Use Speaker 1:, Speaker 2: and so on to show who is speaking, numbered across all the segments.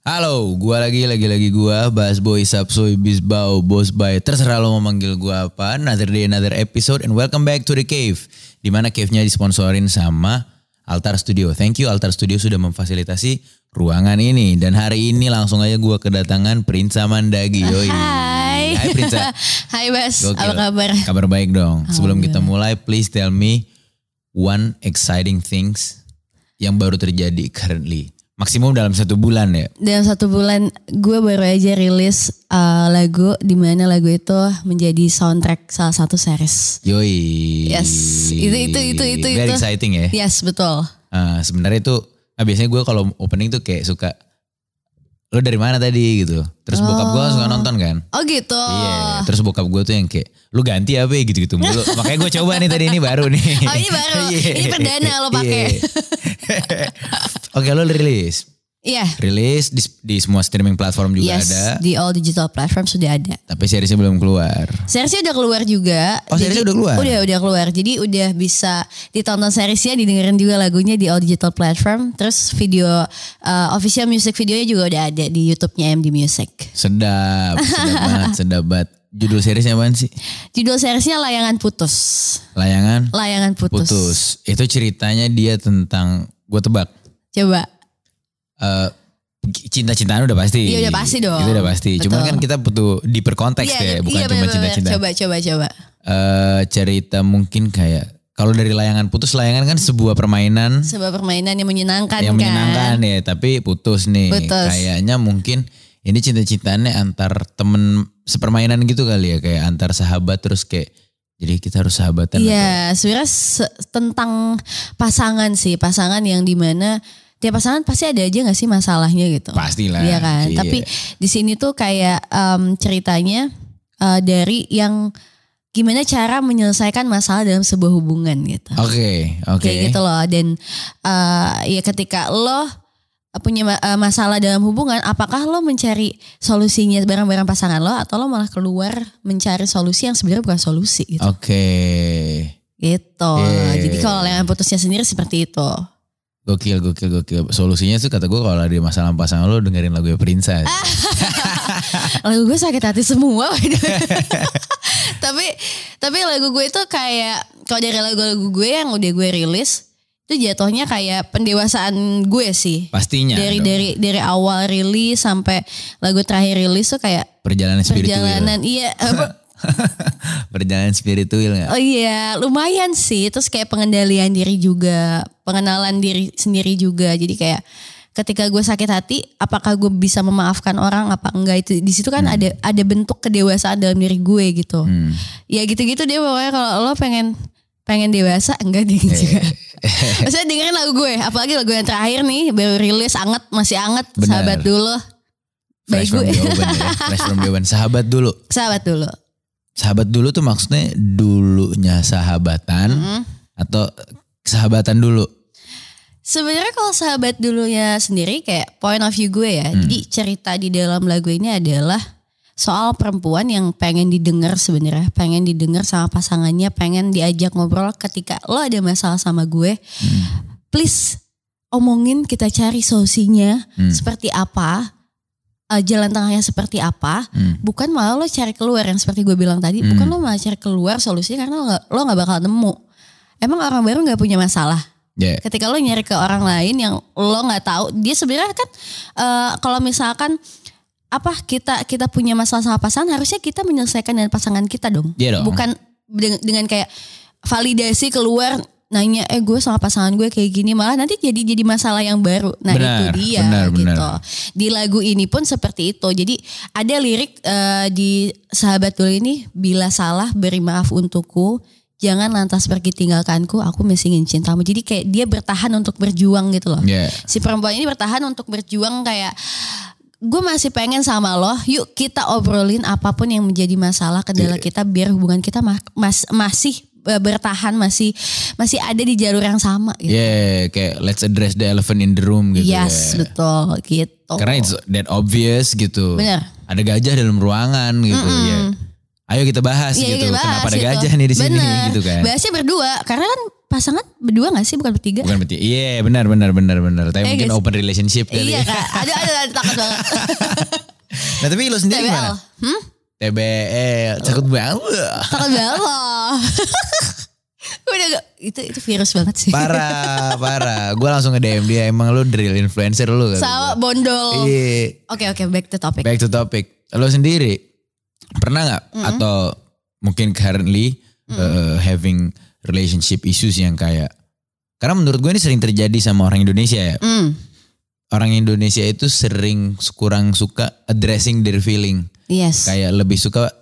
Speaker 1: Halo, gua lagi lagi lagi gua Bas Boy Sapsoy Bisbau Bos Bay. Terserah lo mau manggil gua apa. Another day another episode and welcome back to the cave. Dimana cave-nya disponsorin sama Altar Studio. Thank you Altar Studio sudah memfasilitasi ruangan ini dan hari ini langsung aja gua kedatangan Prinsa Mandagi. Yoi.
Speaker 2: Hai.
Speaker 1: Hai Prinsa.
Speaker 2: Hai Bas,
Speaker 1: Gokil.
Speaker 2: apa kabar?
Speaker 1: Kabar baik dong. Sebelum kita mulai, please tell me one exciting things yang baru terjadi currently. Maksimum dalam satu bulan ya.
Speaker 2: Dalam satu bulan gue baru aja rilis uh, lagu di mana lagu itu menjadi soundtrack salah satu series.
Speaker 1: Yoi.
Speaker 2: Yes, itu itu itu itu
Speaker 1: Very
Speaker 2: itu.
Speaker 1: exciting ya.
Speaker 2: Yes, betul.
Speaker 1: Ah, sebenarnya itu, ah, biasanya gue kalau opening tuh kayak suka, lo dari mana tadi gitu. Terus bokap gue suka nonton kan.
Speaker 2: Oh gitu.
Speaker 1: Iya, terus bokap gue tuh yang kayak, lu ganti apa ya gitu-gitu mulu. Makanya gue coba nih tadi ini baru nih.
Speaker 2: Oh, ini baru.
Speaker 1: Iya.
Speaker 2: Ini perdana lo pakai.
Speaker 1: Iya. Oke lo rilis.
Speaker 2: Iya.
Speaker 1: Rilis di, di semua streaming platform juga
Speaker 2: Yes,
Speaker 1: ada.
Speaker 2: di all digital platform sudah ada.
Speaker 1: Tapi seriesnya belum keluar.
Speaker 2: Seriesnya udah keluar juga.
Speaker 1: Oh, seriesnya udah keluar?
Speaker 2: Udah, udah keluar. Jadi udah bisa ditonton seriesnya, didengerin juga lagunya di all digital platform. Terus video uh, official music videonya juga udah ada di YouTube-nya MD Music.
Speaker 1: Sedap, sedap banget, sedap banget. Judul seriesnya apaan sih?
Speaker 2: Judul seriesnya Layangan Putus.
Speaker 1: Layangan
Speaker 2: Layangan Putus.
Speaker 1: Putus. Itu ceritanya dia tentang, gue tebak,
Speaker 2: Coba.
Speaker 1: eh, cinta-cintaan udah pasti.
Speaker 2: Iya, udah pasti dong.
Speaker 1: Itu udah pasti. Cuman
Speaker 2: Betul.
Speaker 1: kan kita butuh deeper konteks
Speaker 2: Iya,
Speaker 1: ya, bukan
Speaker 2: iya,
Speaker 1: cuma
Speaker 2: bener-bener.
Speaker 1: cinta-cinta.
Speaker 2: Coba, coba, coba.
Speaker 1: eh cerita mungkin kayak kalau dari layangan putus layangan kan sebuah permainan
Speaker 2: Sebab permainan yang menyenangkan
Speaker 1: yang
Speaker 2: kan.
Speaker 1: menyenangkan ya tapi putus nih
Speaker 2: Putus.
Speaker 1: kayaknya mungkin ini cinta-cintaannya antar temen sepermainan gitu kali ya kayak antar sahabat terus kayak jadi kita harus sahabatan
Speaker 2: Iya, sebenarnya se- tentang pasangan sih. Pasangan yang dimana tiap pasangan pasti ada aja gak sih masalahnya gitu.
Speaker 1: atau- pastilah
Speaker 2: Iya kan. Tapi di sini tuh kayak em, ceritanya eh, dari yang gimana cara menyelesaikan masalah dalam sebuah hubungan gitu.
Speaker 1: oke oke
Speaker 2: kayak gitu loh dan eh, ya ketika lo punya ma- eh, masalah dalam hubungan apakah lo mencari solusinya bareng-bareng pasangan lo atau lo malah keluar mencari solusi yang sebenarnya bukan solusi gitu
Speaker 1: oke
Speaker 2: gitu
Speaker 1: Oh, Oke.
Speaker 2: jadi kalau yang putusnya sendiri seperti itu
Speaker 1: gokil gokil gokil solusinya tuh kata gue kalau ada masalah pasangan lo dengerin lagu Princess
Speaker 2: Ah, lagu gue sakit hati semua tapi tapi lagu gue itu kayak kalau dari lagu-lagu gue yang udah gue rilis itu jatuhnya kayak pendewasaan gue sih
Speaker 1: pastinya
Speaker 2: dari
Speaker 1: Ya, dong.
Speaker 2: dari dari awal rilis sampai lagu terakhir rilis tuh kayak
Speaker 1: perjalanan spiritual
Speaker 2: perjalanan iya apa,
Speaker 1: perjalanan spiritual nggak
Speaker 2: oh iya lumayan sih terus kayak pengendalian diri juga pengenalan diri sendiri juga jadi kayak ketika gue sakit hati apakah gue bisa memaafkan orang apa enggak itu di situ kan ada ada bentuk kedewasaan dalam diri gue gitu
Speaker 1: Hmm.
Speaker 2: ya gitu-gitu deh pokoknya kalau lo pengen pengen dewasa enggak
Speaker 1: Eh.
Speaker 2: deh juga maksudnya dengerin lagu gue apalagi lagu yang terakhir nih baru rilis anget masih anget
Speaker 1: Benar.
Speaker 2: sahabat dulu baik
Speaker 1: Fresh from
Speaker 2: gue
Speaker 1: the oven ya. Fresh from the oven. Sahabat dulu.
Speaker 2: sahabat dulu
Speaker 1: Sahabat dulu tuh maksudnya dulunya sahabatan
Speaker 2: Mm.
Speaker 1: atau sahabatan dulu.
Speaker 2: Sebenarnya kalau sahabat dulunya sendiri kayak point of view gue ya. Jadi cerita di dalam lagu ini adalah soal perempuan yang pengen didengar sebenarnya, pengen didengar sama pasangannya, pengen diajak ngobrol ketika lo ada masalah sama gue.
Speaker 1: Hmm,
Speaker 2: Please omongin kita cari solusinya
Speaker 1: Hmm.
Speaker 2: seperti apa, eh, jalan tengahnya seperti apa.
Speaker 1: Hmm.
Speaker 2: Bukan malah lo cari keluar yang seperti gue bilang tadi, bukan lo malah cari keluar solusinya karena lo gak, lo gak bakal nemu. Emang orang baru gak punya masalah?
Speaker 1: Ya.
Speaker 2: ketika lo nyari ke orang lain yang lo nggak tahu dia sebenarnya kan eh, kalau misalkan apa kita kita punya masalah sama pasangan harusnya kita menyelesaikan dengan pasangan kita dong
Speaker 1: Iya dong.
Speaker 2: bukan dengan, dengan kayak validasi keluar nanya eh gue sama pasangan gue kayak gini malah nanti jadi jadi masalah yang baru nah
Speaker 1: Benar,
Speaker 2: itu dia
Speaker 1: benar,
Speaker 2: gitu
Speaker 1: benar.
Speaker 2: di lagu ini pun seperti itu jadi ada lirik eh, di sahabat dulu ini bila salah beri maaf untukku jangan lantas pergi tinggalkanku aku masih ingin cintamu jadi kayak dia bertahan untuk berjuang gitu loh
Speaker 1: Ya.
Speaker 2: si perempuan ini bertahan untuk berjuang kayak gue masih pengen sama lo yuk kita obrolin apapun yang menjadi masalah kendala
Speaker 1: Iya.
Speaker 2: kita biar hubungan kita ma- mas- masih eh, bertahan masih masih ada di jalur yang sama gitu.
Speaker 1: Ya, kayak let's address the elephant in the room gitu.
Speaker 2: yes
Speaker 1: ya.
Speaker 2: betul gitu
Speaker 1: Karena it's that obvious gitu.
Speaker 2: Benar.
Speaker 1: Ada gajah dalam ruangan gitu ya. Ayo kita bahas
Speaker 2: Iya,
Speaker 1: gitu.
Speaker 2: kita bahas
Speaker 1: Kenapa ada
Speaker 2: gitu.
Speaker 1: gajah nih di sini
Speaker 2: Bener.
Speaker 1: gitu kan.
Speaker 2: Bahasnya berdua karena kan pasangan berdua gak sih bukan bertiga?
Speaker 1: Bukan berarti. Iya, benar benar benar benar. Tapi
Speaker 2: Iya
Speaker 1: mungkin
Speaker 2: guys.
Speaker 1: open relationship kali. ya.
Speaker 2: Iya kak, ada ada ada takut banget.
Speaker 1: Nah, tapi lu sendiri
Speaker 2: TBL,
Speaker 1: gimana?
Speaker 2: hmm?
Speaker 1: TBL, takut banget.
Speaker 2: takut banget loh. Udah gak, itu itu virus banget sih.
Speaker 1: Parah, parah. Gue langsung nge-DM dia, emang lu the real influencer lu kan?
Speaker 2: Sama bondol.
Speaker 1: Iya.
Speaker 2: Oke oke back to topic.
Speaker 1: Back to topic. Lo sendiri pernah nggak atau mungkin currently uh, having relationship issues yang kayak karena menurut gue ini sering terjadi sama orang Indonesia ya.
Speaker 2: Hmm,
Speaker 1: Orang Indonesia itu sering kurang suka addressing their feeling.
Speaker 2: yes.
Speaker 1: Kayak lebih suka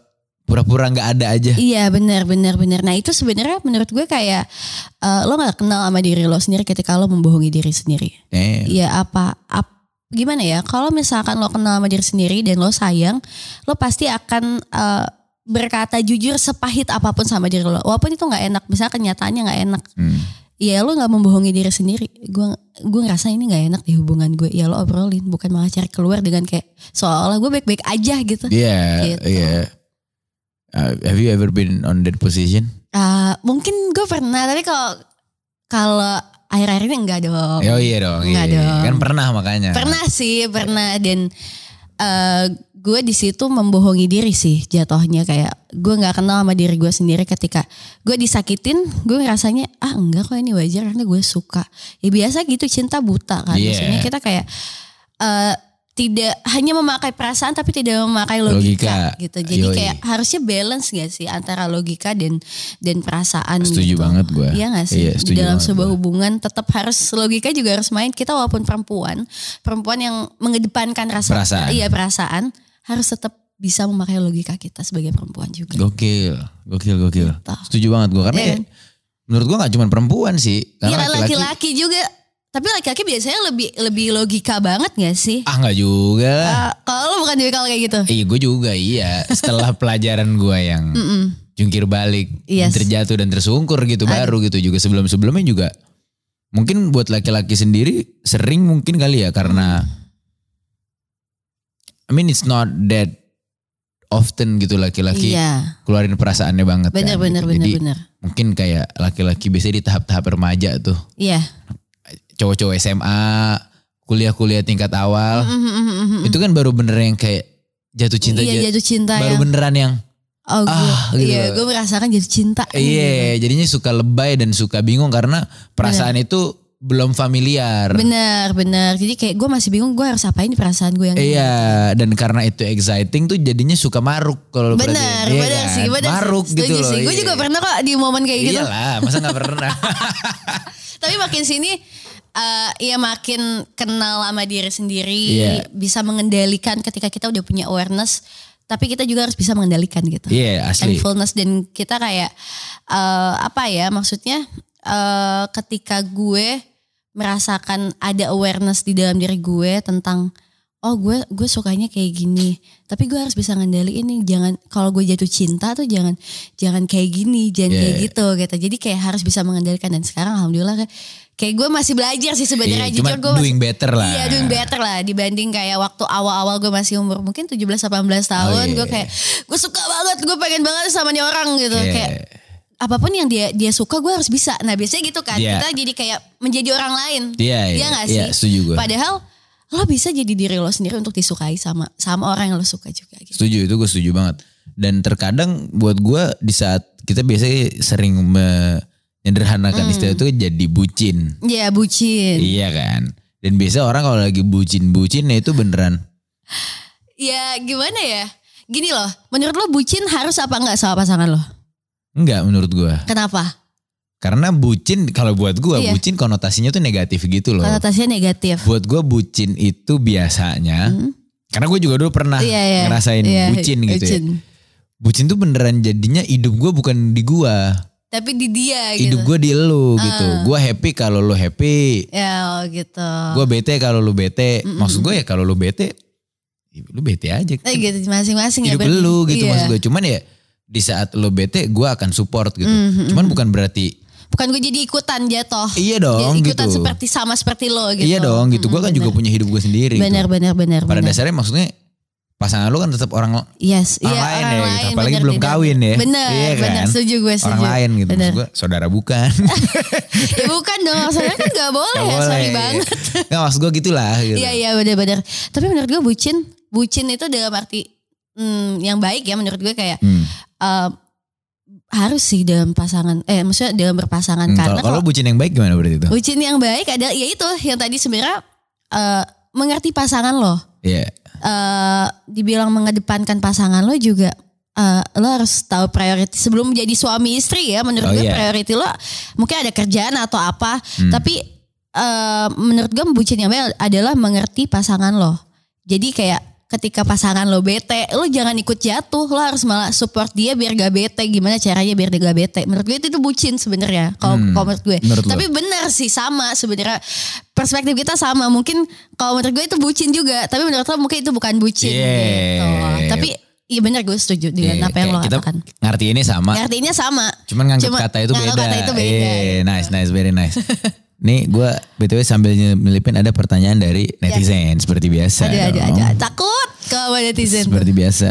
Speaker 1: pura-pura nggak ada aja.
Speaker 2: Iya benar benar benar. Nah itu sebenarnya menurut gue kayak eh, lo nggak kenal sama diri lo sendiri ketika lo membohongi diri sendiri.
Speaker 1: Eh,
Speaker 2: Iya apa ap- gimana ya? Kalau misalkan lo kenal sama diri sendiri dan lo sayang, lo pasti akan eh, berkata jujur sepahit apapun sama diri lo. Walaupun itu nggak enak, misalnya kenyataannya nggak enak.
Speaker 1: hmm.
Speaker 2: Ya lo nggak membohongi diri sendiri. Gue gue ngerasa ini nggak enak di hubungan gue. Ya lo obrolin, bukan malah cari keluar dengan kayak seolah gue baik-baik aja gitu.
Speaker 1: Iya,
Speaker 2: Gitu.
Speaker 1: iya. Uh, have you ever been on that position?
Speaker 2: Ah, mungkin gue pernah tapi kalau kalau akhir-akhir ini enggak dong.
Speaker 1: Oh iya dong, iya.
Speaker 2: Nggak dong.
Speaker 1: Kan pernah makanya.
Speaker 2: Pernah sih, pernah dan eh, gue di situ membohongi diri sih jatuhnya kayak gue nggak kenal sama diri gue sendiri ketika gue disakitin gue ngerasanya ah enggak kok ini wajar karena gue suka ya biasa gitu cinta buta kan
Speaker 1: Iya.
Speaker 2: maksudnya kita kayak eh, tidak hanya memakai perasaan tapi tidak memakai logika,
Speaker 1: Logika.
Speaker 2: gitu jadi
Speaker 1: Yoi.
Speaker 2: kayak harusnya balance gak sih antara logika dan dan perasaan
Speaker 1: Setuju
Speaker 2: gitu.
Speaker 1: banget gue.
Speaker 2: Iya gak sih?
Speaker 1: Iya,
Speaker 2: di
Speaker 1: setuju
Speaker 2: dalam
Speaker 1: banget
Speaker 2: sebuah
Speaker 1: gua.
Speaker 2: hubungan tetap harus logika juga harus main. Kita walaupun perempuan, perempuan yang mengedepankan rasa,
Speaker 1: Perasaan.
Speaker 2: iya perasaan harus tetap bisa memakai logika kita sebagai perempuan juga.
Speaker 1: Gokil, gokil, gokil.
Speaker 2: Gitu.
Speaker 1: Setuju banget gue karena
Speaker 2: Iya
Speaker 1: ya,
Speaker 2: kan?
Speaker 1: menurut gue nggak cuma perempuan sih,
Speaker 2: Iya
Speaker 1: karena laki-laki.
Speaker 2: laki-laki juga. Tapi laki-laki biasanya lebih lebih logika banget gak sih?
Speaker 1: Ah nggak juga.
Speaker 2: Ah, kalau lu bukan tipikal kayak gitu.
Speaker 1: Iya gue juga iya. Setelah pelajaran gue yang
Speaker 2: Mm-mm.
Speaker 1: jungkir balik,
Speaker 2: Yes.
Speaker 1: terjatuh dan tersungkur gitu baru gitu juga sebelum-sebelumnya juga. Mungkin buat laki-laki sendiri sering mungkin kali ya karena I mean it's not that often gitu laki-laki
Speaker 2: Iya.
Speaker 1: keluarin perasaannya banget. kan, gitu.
Speaker 2: Benar-benar
Speaker 1: Jadi
Speaker 2: benar-benar.
Speaker 1: mungkin kayak laki-laki biasanya di tahap-tahap remaja tuh.
Speaker 2: Iya.
Speaker 1: cowok-cowok SMA, kuliah-kuliah tingkat awal,
Speaker 2: Mm, mm, mm, mm.
Speaker 1: itu kan baru bener yang kayak jatuh cinta
Speaker 2: Iya
Speaker 1: aja.
Speaker 2: jatuh cinta
Speaker 1: baru
Speaker 2: yang
Speaker 1: beneran yang
Speaker 2: oh gue,
Speaker 1: Ah, gitu.
Speaker 2: iya gue merasakan jatuh cinta.
Speaker 1: iya, jadinya suka lebay dan suka bingung karena perasaan
Speaker 2: Iya.
Speaker 1: itu belum familiar.
Speaker 2: Bener, bener. Jadi kayak gue masih bingung gue harus apain di perasaan gue yang ini.
Speaker 1: Iya, dan karena itu exciting tuh jadinya suka maruk kalau lu
Speaker 2: Bener,
Speaker 1: perhatiin. Iya
Speaker 2: bener
Speaker 1: kan?
Speaker 2: sih, bener
Speaker 1: Maruk
Speaker 2: sih.
Speaker 1: gitu
Speaker 2: Setuju
Speaker 1: loh.
Speaker 2: sih. Gue
Speaker 1: iya.
Speaker 2: juga pernah kok di momen kayak gitu.
Speaker 1: Iyalah, masa gak pernah.
Speaker 2: Tapi makin sini eh ya makin kenal sama diri sendiri,
Speaker 1: Iya.
Speaker 2: bisa mengendalikan ketika kita udah punya awareness, tapi kita juga harus bisa mengendalikan gitu.
Speaker 1: Iya, asli.
Speaker 2: Thankfulness dan kita kayak eh apa ya maksudnya eh ketika gue merasakan ada awareness di dalam diri gue tentang oh gue gue sukanya kayak gini tapi gue harus bisa ngendaliin nih jangan kalau gue jatuh cinta tuh jangan jangan kayak gini jangan
Speaker 1: Iya,
Speaker 2: kayak
Speaker 1: iya.
Speaker 2: gitu gitu jadi kayak harus bisa mengendalikan dan sekarang alhamdulillah kayak- kayak gue masih belajar sih sebenarnya
Speaker 1: Iya,
Speaker 2: jujur
Speaker 1: cuma
Speaker 2: gue masih
Speaker 1: doing better lah.
Speaker 2: Iya doing better lah dibanding kayak waktu awal-awal gue masih umur mungkin 17-18 tahun
Speaker 1: iya.
Speaker 2: gue kayak gue suka banget gue pengen banget sama nih orang gitu
Speaker 1: Iya.
Speaker 2: kayak apapun yang dia dia suka gue harus bisa nah biasanya gitu kan
Speaker 1: Iya.
Speaker 2: kita jadi kayak menjadi orang lain
Speaker 1: Iya,
Speaker 2: Iya
Speaker 1: iya,
Speaker 2: nggak
Speaker 1: iya,
Speaker 2: sih
Speaker 1: setuju gue.
Speaker 2: padahal lo bisa jadi diri lo sendiri untuk disukai sama sama orang yang lo suka juga gitu.
Speaker 1: Setuju itu gue setuju banget. Dan terkadang buat gue di saat kita biasanya sering
Speaker 2: Hmm.
Speaker 1: menyederhanakan istilah itu jadi bucin.
Speaker 2: Iya bucin.
Speaker 1: Iya kan. Dan biasa orang kalau lagi bucin-bucin ya itu beneran.
Speaker 2: Ya gimana ya? Gini loh, menurut lo bucin harus apa enggak sama pasangan lo?
Speaker 1: Enggak menurut gue.
Speaker 2: Kenapa?
Speaker 1: Karena bucin kalau buat gue
Speaker 2: Iya.
Speaker 1: bucin konotasinya tuh negatif gitu loh.
Speaker 2: Konotasinya negatif.
Speaker 1: Buat gue bucin itu biasanya.
Speaker 2: Hmm?
Speaker 1: Karena gue juga dulu pernah
Speaker 2: Iya, iya.
Speaker 1: ngerasain
Speaker 2: Iya,
Speaker 1: bucin gitu ya.
Speaker 2: bucin.
Speaker 1: Bucin tuh beneran jadinya hidup gue bukan di gue.
Speaker 2: Tapi di dia
Speaker 1: Hidup
Speaker 2: gitu.
Speaker 1: gue di lu gitu. Gue happy kalau lu happy.
Speaker 2: Ya oh, gitu.
Speaker 1: gue bete kalau lu bete maksud gue ya kalau lu bete ya lu bete aja
Speaker 2: Eh, gitu masing-masing ya.
Speaker 1: hidup
Speaker 2: berarti.
Speaker 1: lu gitu
Speaker 2: Iya.
Speaker 1: maksud gue cuman ya di saat lu bete gue akan support
Speaker 2: Mm.
Speaker 1: gitu cuman bukan berarti
Speaker 2: Mhm, Bukan gue jadi ikutan jatuh.
Speaker 1: iya
Speaker 2: Jadi
Speaker 1: dong
Speaker 2: Ya, ikutan
Speaker 1: gitu
Speaker 2: seperti sama seperti lo gitu.
Speaker 1: iya dong gitu gue kan juga kan punya hidup gue sendiri gitu.
Speaker 2: Benar benar benar.
Speaker 1: pada
Speaker 2: benar.
Speaker 1: dasarnya maksudnya pasangan lu kan tetap orang
Speaker 2: Yes,
Speaker 1: orang lain
Speaker 2: iya, orang
Speaker 1: ya
Speaker 2: lain,
Speaker 1: gitu. Apalagi
Speaker 2: bener,
Speaker 1: belum
Speaker 2: bener.
Speaker 1: kawin ya.
Speaker 2: Bener,
Speaker 1: Iya kan?
Speaker 2: bener, setuju gue setuju.
Speaker 1: Orang lain gitu. Maksud
Speaker 2: Bener.
Speaker 1: gue saudara bukan.
Speaker 2: ya bukan dong, soalnya kan gak boleh
Speaker 1: Gak
Speaker 2: ya,
Speaker 1: boleh.
Speaker 2: sorry banget.
Speaker 1: Nggak, maksud gue gitulah gitu.
Speaker 2: Iya, iya bener-bener. Tapi menurut gue bucin, bucin itu dalam arti hmm, yang baik ya menurut gue kayak
Speaker 1: Hmm.
Speaker 2: eh, harus sih dalam pasangan, eh maksudnya dalam berpasangan.
Speaker 1: Hmm,
Speaker 2: Kan, Karena
Speaker 1: Kalau kalau
Speaker 2: kalau
Speaker 1: bucin yang baik gimana berarti itu?
Speaker 2: bucin yang baik adalah, ya itu yang tadi sebenarnya eh, mengerti pasangan loh.
Speaker 1: Iya.
Speaker 2: eh dibilang mengedepankan pasangan lo juga eh, lo harus tahu priority sebelum jadi suami istri ya menurut
Speaker 1: Oh,
Speaker 2: gue
Speaker 1: iya.
Speaker 2: priority lo mungkin ada kerjaan atau apa
Speaker 1: Hmm.
Speaker 2: tapi eh, menurut gue bucin yang baik adalah mengerti pasangan lo jadi kayak ketika pasangan lo bete lo jangan ikut jatuh lo harus malah support dia biar gak bete gimana caranya biar dia gak bete menurut gue itu tuh bucin sebenarnya kalau
Speaker 1: Hmm.
Speaker 2: kalau menurut gue
Speaker 1: Menurut lo?
Speaker 2: tapi benar sih sama sebenarnya perspektif kita sama mungkin kalau menurut gue itu bucin juga tapi menurut lo mungkin itu bukan bucin gitu
Speaker 1: Yeah.
Speaker 2: tapi iya benar gue setuju dengan
Speaker 1: Iya,
Speaker 2: apa
Speaker 1: kayak
Speaker 2: yang lo
Speaker 1: kita
Speaker 2: katakan
Speaker 1: ngerti ini sama.
Speaker 2: artinya sama
Speaker 1: Cuman nganggap
Speaker 2: Cuma
Speaker 1: kata itu
Speaker 2: nganggap
Speaker 1: beda.
Speaker 2: kata itu beda,
Speaker 1: Eh,
Speaker 2: gitu.
Speaker 1: nice, nice, very nice. Nih gue BTW sambil nyelipin ada pertanyaan dari
Speaker 2: Ya.
Speaker 1: netizen seperti biasa.
Speaker 2: ada ada
Speaker 1: dong.
Speaker 2: ada takut kalau ada netizen tuh.
Speaker 1: Seperti biasa.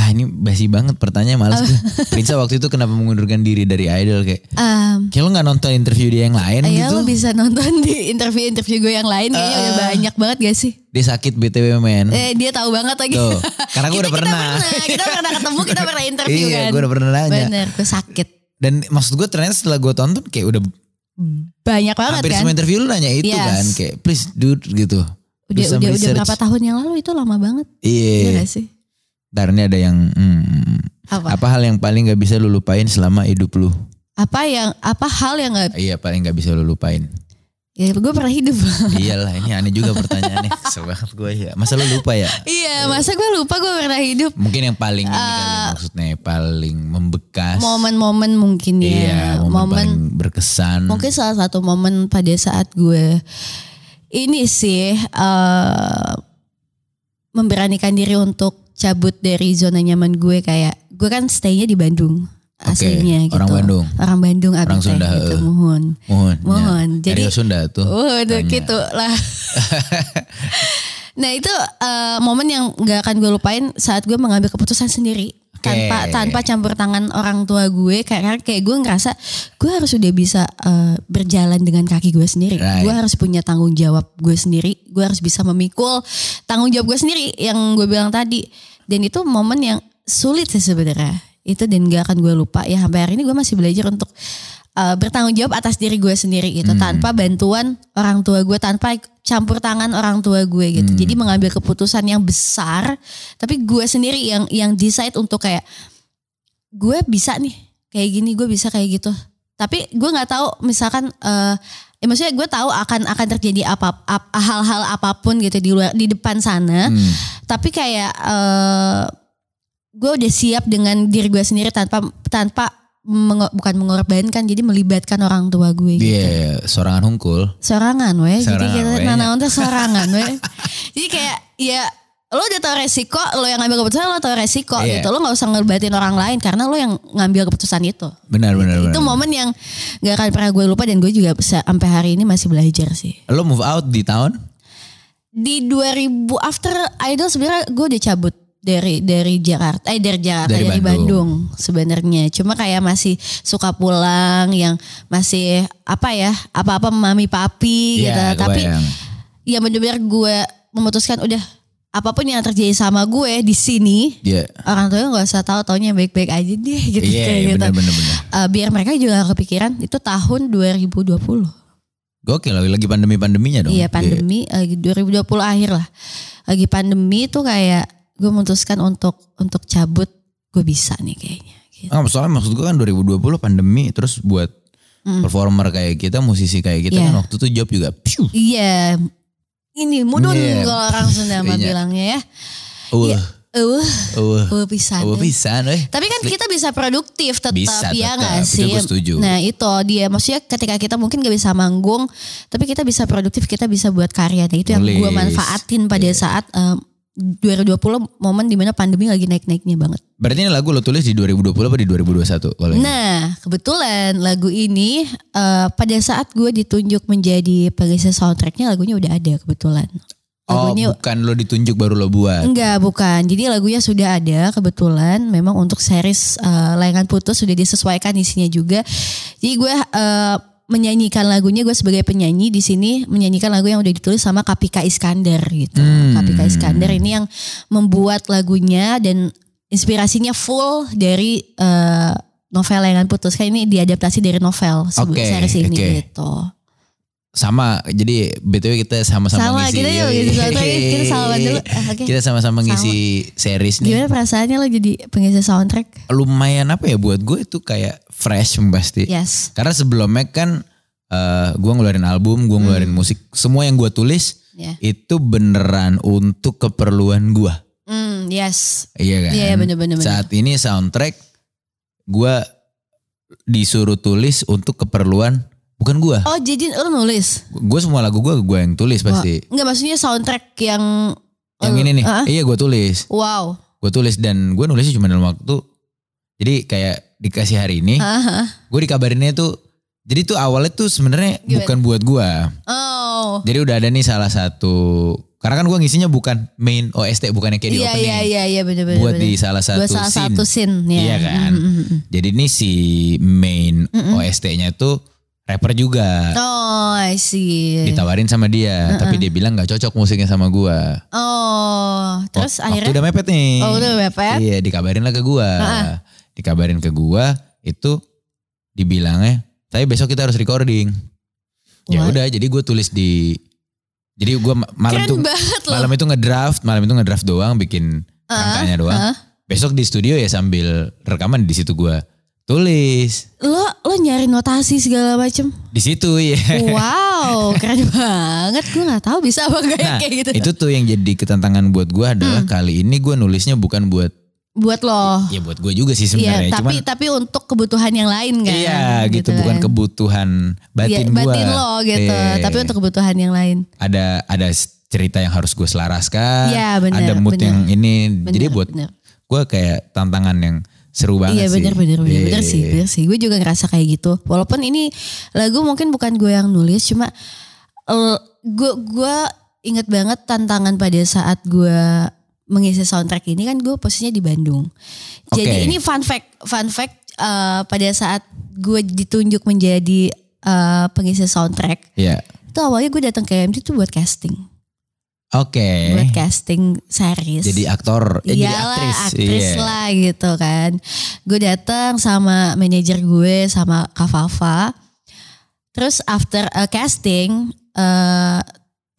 Speaker 1: Ah ini basi banget pertanyaan
Speaker 2: Oh.
Speaker 1: malas gue. Prinsa waktu itu kenapa mengundurkan diri dari Idol kayak.
Speaker 2: Em,
Speaker 1: Kayak lo gak nonton interview dia yang lain
Speaker 2: Ayo
Speaker 1: gitu. Eh,
Speaker 2: lo bisa nonton di interview-interview gue yang lain kayaknya udah banyak banget gak sih?
Speaker 1: Dia sakit BTW men.
Speaker 2: Eh dia tahu banget lagi.
Speaker 1: Tuh, karena gue
Speaker 2: Kita-
Speaker 1: udah pernah.
Speaker 2: Kita pernah, kita pernah ketemu, kita pernah interview
Speaker 1: Iya,
Speaker 2: kan.
Speaker 1: gue udah pernah nanya.
Speaker 2: Bener, gue sakit.
Speaker 1: Dan maksud gue ternyata setelah gue tonton kayak udah
Speaker 2: Banyak banget
Speaker 1: hampir
Speaker 2: kan.
Speaker 1: semua interview lu nanya itu
Speaker 2: Yes.
Speaker 1: kan. Kayak please dude gitu.
Speaker 2: Udah,
Speaker 1: Bisa
Speaker 2: udah, udah
Speaker 1: research.
Speaker 2: berapa tahun yang lalu itu lama banget. Iya
Speaker 1: Iya.
Speaker 2: gak sih?
Speaker 1: Ntar ini ada yang. hmm,
Speaker 2: Apa?
Speaker 1: apa hal yang paling gak bisa lu lupain selama hidup lu?
Speaker 2: apa yang apa hal yang nggak
Speaker 1: Iya paling gak bisa lu lupain.
Speaker 2: ya gue pernah hidup
Speaker 1: Iyalah ini aneh juga pertanyaannya. Kesel banget gue ya. Masa lu lupa ya?
Speaker 2: iya masa gue lupa gue pernah hidup
Speaker 1: Mungkin yang paling ini kali
Speaker 2: Eh,
Speaker 1: maksudnya paling membekas.
Speaker 2: momen-momen mungkin ya
Speaker 1: Iya, momen,
Speaker 2: momen
Speaker 1: paling berkesan.
Speaker 2: mungkin salah satu momen pada saat gue ini sih eh, memberanikan diri untuk cabut dari zona nyaman gue kayak gue kan staynya di Bandung aslinya gitu
Speaker 1: orang Bandung.
Speaker 2: orang Bandung abis
Speaker 1: Orang Sunda, eh. Ya,
Speaker 2: gitu,
Speaker 1: heeh.
Speaker 2: muhun
Speaker 1: Mohon.
Speaker 2: Mohon. Jadi-
Speaker 1: Dari Sunda tuh.
Speaker 2: Oh, udah
Speaker 1: Tanya.
Speaker 2: gitu lah. nah itu eh, momen yang gak akan gue lupain saat gue mengambil keputusan sendiri
Speaker 1: Oke.
Speaker 2: tanpa tanpa campur tangan orang tua gue karena kayak gue ngerasa gue harus udah bisa eh, berjalan dengan kaki gue sendiri
Speaker 1: Right.
Speaker 2: gue harus punya tanggung jawab gue sendiri gue harus bisa memikul tanggung jawab gue sendiri yang gue bilang tadi dan itu momen yang sulit sih sebenarnya itu dan gak akan gue lupa ya sampai hari ini gue masih belajar untuk eh, bertanggung jawab atas diri gue sendiri gitu
Speaker 1: Hmm.
Speaker 2: tanpa bantuan orang tua gue tanpa campur tangan orang tua gue gitu
Speaker 1: Hmm.
Speaker 2: jadi mengambil keputusan yang besar tapi gue sendiri yang yang decide untuk kayak gue bisa nih kayak gini gue bisa kayak gitu tapi gue nggak tahu misalkan eh ya maksudnya gue tahu akan akan terjadi apa ap- hal-hal apapun gitu di luar di depan sana
Speaker 1: Hmm.
Speaker 2: tapi kayak eh gue udah siap dengan diri gue sendiri tanpa tanpa mengo- bukan mengorbankan jadi melibatkan orang tua
Speaker 1: Iya,
Speaker 2: gue gitu
Speaker 1: sorangan hungkul.
Speaker 2: sorangan weh jadi
Speaker 1: Sorangan,
Speaker 2: kita
Speaker 1: weh.
Speaker 2: nanaon tuh sorangan weh jadi kayak ya lo udah tau resiko lo yang ngambil keputusan lo tau resiko
Speaker 1: Iya.
Speaker 2: gitu lo nggak usah ngebatin orang lain karena lo yang ngambil keputusan itu
Speaker 1: Benar, benar, benar.
Speaker 2: itu momen yang gak akan pernah gue lupa dan gue juga bisa- sampai hari ini masih belajar sih
Speaker 1: Lo move out di tahun?
Speaker 2: di 2000 after idol sebenarnya gue udah cabut dari dari Jakarta eh dari Jakarta
Speaker 1: Dari
Speaker 2: dari,
Speaker 1: Bandung.
Speaker 2: Bandung, sebenarnya cuma kayak masih suka pulang yang masih apa ya apa-apa mami
Speaker 1: Iya,
Speaker 2: papi gitu tapi
Speaker 1: kebayang.
Speaker 2: ya benar-benar gue memutuskan udah apapun yang terjadi sama gue di sini
Speaker 1: Iya.
Speaker 2: orang tuanya nggak usah tahu taunya baik-baik aja deh gitu
Speaker 1: Iya,
Speaker 2: kayak gitu.
Speaker 1: benar, benar, benar.
Speaker 2: Eh, biar mereka juga gak kepikiran itu tahun 2020
Speaker 1: Gokil lagi pandemi-pandeminya dong.
Speaker 2: iya pandemi gitu, lagi 2020 akhir lah lagi pandemi tuh kayak gue memutuskan untuk untuk cabut gue bisa nih kayaknya gitu.
Speaker 1: Ah, soalnya maksud gue kan 2020 pandemi terus buat performer kayak kita, musisi kayak kita
Speaker 2: Hmm. Iya.
Speaker 1: kan waktu itu job juga. Piu.
Speaker 2: iya ini mudun
Speaker 1: Iya.
Speaker 2: kalau orang Sunda mah
Speaker 1: Iya.
Speaker 2: bilangnya ya
Speaker 1: Wah,
Speaker 2: uh
Speaker 1: wah,
Speaker 2: uh pisan
Speaker 1: wah pisan eh. weh.
Speaker 2: Tapi kan kita bisa produktif tetap
Speaker 1: Bisa tetap,
Speaker 2: ya nggak
Speaker 1: itu
Speaker 2: sih?
Speaker 1: gue setuju.
Speaker 2: Nah itu dia maksudnya ketika kita mungkin gak bisa manggung, tapi kita bisa produktif, kita bisa buat karya. Nah, itu yang
Speaker 1: Nulis. Iya.
Speaker 2: gue manfaatin pada saat em, 2020 momen dimana pandemi lagi naik-naiknya banget.
Speaker 1: Berarti ini lagu lo tulis di 2020 apa di 2021? Kalau ini?
Speaker 2: Nah kebetulan lagu ini eh, pada saat gue ditunjuk menjadi pengisi soundtracknya lagunya udah ada kebetulan.
Speaker 1: Oh
Speaker 2: Lagunya
Speaker 1: bukan lo ditunjuk baru lo buat.
Speaker 2: Enggak, bukan. Jadi lagunya sudah ada kebetulan memang untuk series eh, Layangan Putus sudah disesuaikan isinya juga. Jadi gue eh, menyanyikan lagunya gue sebagai penyanyi di sini menyanyikan lagu yang udah ditulis sama Kapika Iskandar gitu.
Speaker 1: Hmm.
Speaker 2: Kapika Iskandar ini yang membuat lagunya dan inspirasinya full dari eh, novel Layangan Putus. Kan ini diadaptasi dari novel sebuah
Speaker 1: Oke,
Speaker 2: series ini
Speaker 1: oke.
Speaker 2: gitu.
Speaker 1: Sama jadi BTW kita sama-sama
Speaker 2: Sama,
Speaker 1: ngisi.
Speaker 2: kita yuk,
Speaker 1: Yoi.
Speaker 2: gitu. Sama, kita salaman dulu. Ah, oke.
Speaker 1: Kita sama-sama ngisi series nih.
Speaker 2: Gimana perasaannya lo jadi pengisi soundtrack?
Speaker 1: Lumayan apa ya buat gue itu kayak fresh pasti.
Speaker 2: Yes.
Speaker 1: Karena sebelumnya kan eh gue ngeluarin album, gue ngeluarin musik, semua yang gue tulis
Speaker 2: Hmm. Ya.
Speaker 1: itu beneran untuk keperluan gue,
Speaker 2: Hmm, yes.
Speaker 1: iya kan?
Speaker 2: Iya, iya, bener, bener, bener.
Speaker 1: Saat ini soundtrack gue disuruh tulis untuk keperluan bukan gue,
Speaker 2: Oh, jadi lu nulis?
Speaker 1: gue semua lagu gue gue yang tulis pasti.
Speaker 2: Enggak, maksudnya soundtrack yang
Speaker 1: Yang ini nih,
Speaker 2: Ah,
Speaker 1: iya gue tulis,
Speaker 2: Wow.
Speaker 1: gue tulis dan gue nulisnya cuma dalam waktu, jadi kayak dikasih hari ini,
Speaker 2: Ah, ah.
Speaker 1: gue dikabarinnya tuh, jadi tuh awalnya tuh sebenarnya
Speaker 2: Gimana?
Speaker 1: bukan buat gue.
Speaker 2: Oh.
Speaker 1: Jadi udah ada nih salah satu karena kan gue ngisinya bukan main OST bukannya kayak di
Speaker 2: Iya,
Speaker 1: opening.
Speaker 2: iya, iya, iya benar benar.
Speaker 1: Buat di salah satu
Speaker 2: Buat salah
Speaker 1: scene.
Speaker 2: satu scene ya.
Speaker 1: Iya kan? Oh, iya.
Speaker 2: Mm, mm, mm.
Speaker 1: Jadi ini si main
Speaker 2: Mm-mm.
Speaker 1: OST-nya tuh rapper juga.
Speaker 2: Oh, I see.
Speaker 1: Ditawarin sama dia, tapi dia bilang nggak cocok musiknya sama gue.
Speaker 2: Oh, terus akhirnya
Speaker 1: udah mepet nih.
Speaker 2: Oh, udah mepet.
Speaker 1: Iya, dikabarin lah ke gue.
Speaker 2: Ah.
Speaker 1: Dikabarin ke gue itu dibilangnya, tapi besok kita harus recording. Ya
Speaker 2: What?
Speaker 1: udah, jadi gue tulis di jadi gue malam
Speaker 2: keren
Speaker 1: tuh
Speaker 2: banget loh.
Speaker 1: malam itu ngedraft, malam itu ngedraft doang bikin rangkanya doang.
Speaker 2: ah.
Speaker 1: Besok di studio ya sambil rekaman di situ gua tulis.
Speaker 2: Lo lo nyari notasi segala macem.
Speaker 1: Di situ ya.
Speaker 2: Wow, keren banget. Gue nggak tahu bisa apa kayak
Speaker 1: Nah,
Speaker 2: kayak gitu. Hmm.
Speaker 1: itu tuh yang jadi ketantangan buat gua adalah kali ini gua nulisnya bukan buat
Speaker 2: Buat lo.
Speaker 1: ya buat gua juga sih
Speaker 2: Iya,
Speaker 1: sebenarnya,
Speaker 2: tapi
Speaker 1: cuman
Speaker 2: tapi untuk kebutuhan yang lain kan.
Speaker 1: iya gitu, bukan
Speaker 2: kan.
Speaker 1: kebutuhan
Speaker 2: Iya,
Speaker 1: batin gua.
Speaker 2: batin lo gitu,
Speaker 1: Iya.
Speaker 2: tapi untuk kebutuhan yang lain.
Speaker 1: ada ada cerita yang harus gue selaraskan,
Speaker 2: Iya, benar,
Speaker 1: ada mood
Speaker 2: benar.
Speaker 1: yang ini.
Speaker 2: Bener,
Speaker 1: jadi buat
Speaker 2: bener.
Speaker 1: gua kayak tantangan yang seru banget
Speaker 2: Iya
Speaker 1: sih.
Speaker 2: bener bener bener,
Speaker 1: Iya.
Speaker 2: bener sih, bener sih. Gue juga ngerasa kayak gitu. Walaupun ini lagu mungkin bukan gue yang nulis, cuma eh, el- gue gue inget banget tantangan pada saat gue mengisi soundtrack ini kan gue posisinya di Bandung. Jadi
Speaker 1: Oke.
Speaker 2: ini fun fact, fun fact eh, pada saat gue ditunjuk menjadi eh, pengisi soundtrack,
Speaker 1: Iya.
Speaker 2: itu awalnya gue datang ke MD tuh buat casting.
Speaker 1: Oke.
Speaker 2: buat casting series.
Speaker 1: Eh. Jadi aktor, eh, jadi
Speaker 2: Iyalah,
Speaker 1: aktris.
Speaker 2: aktris
Speaker 1: Iya.
Speaker 2: lah gitu kan. Gue datang sama manajer gue sama Kak Fafa. Terus after uh, casting eh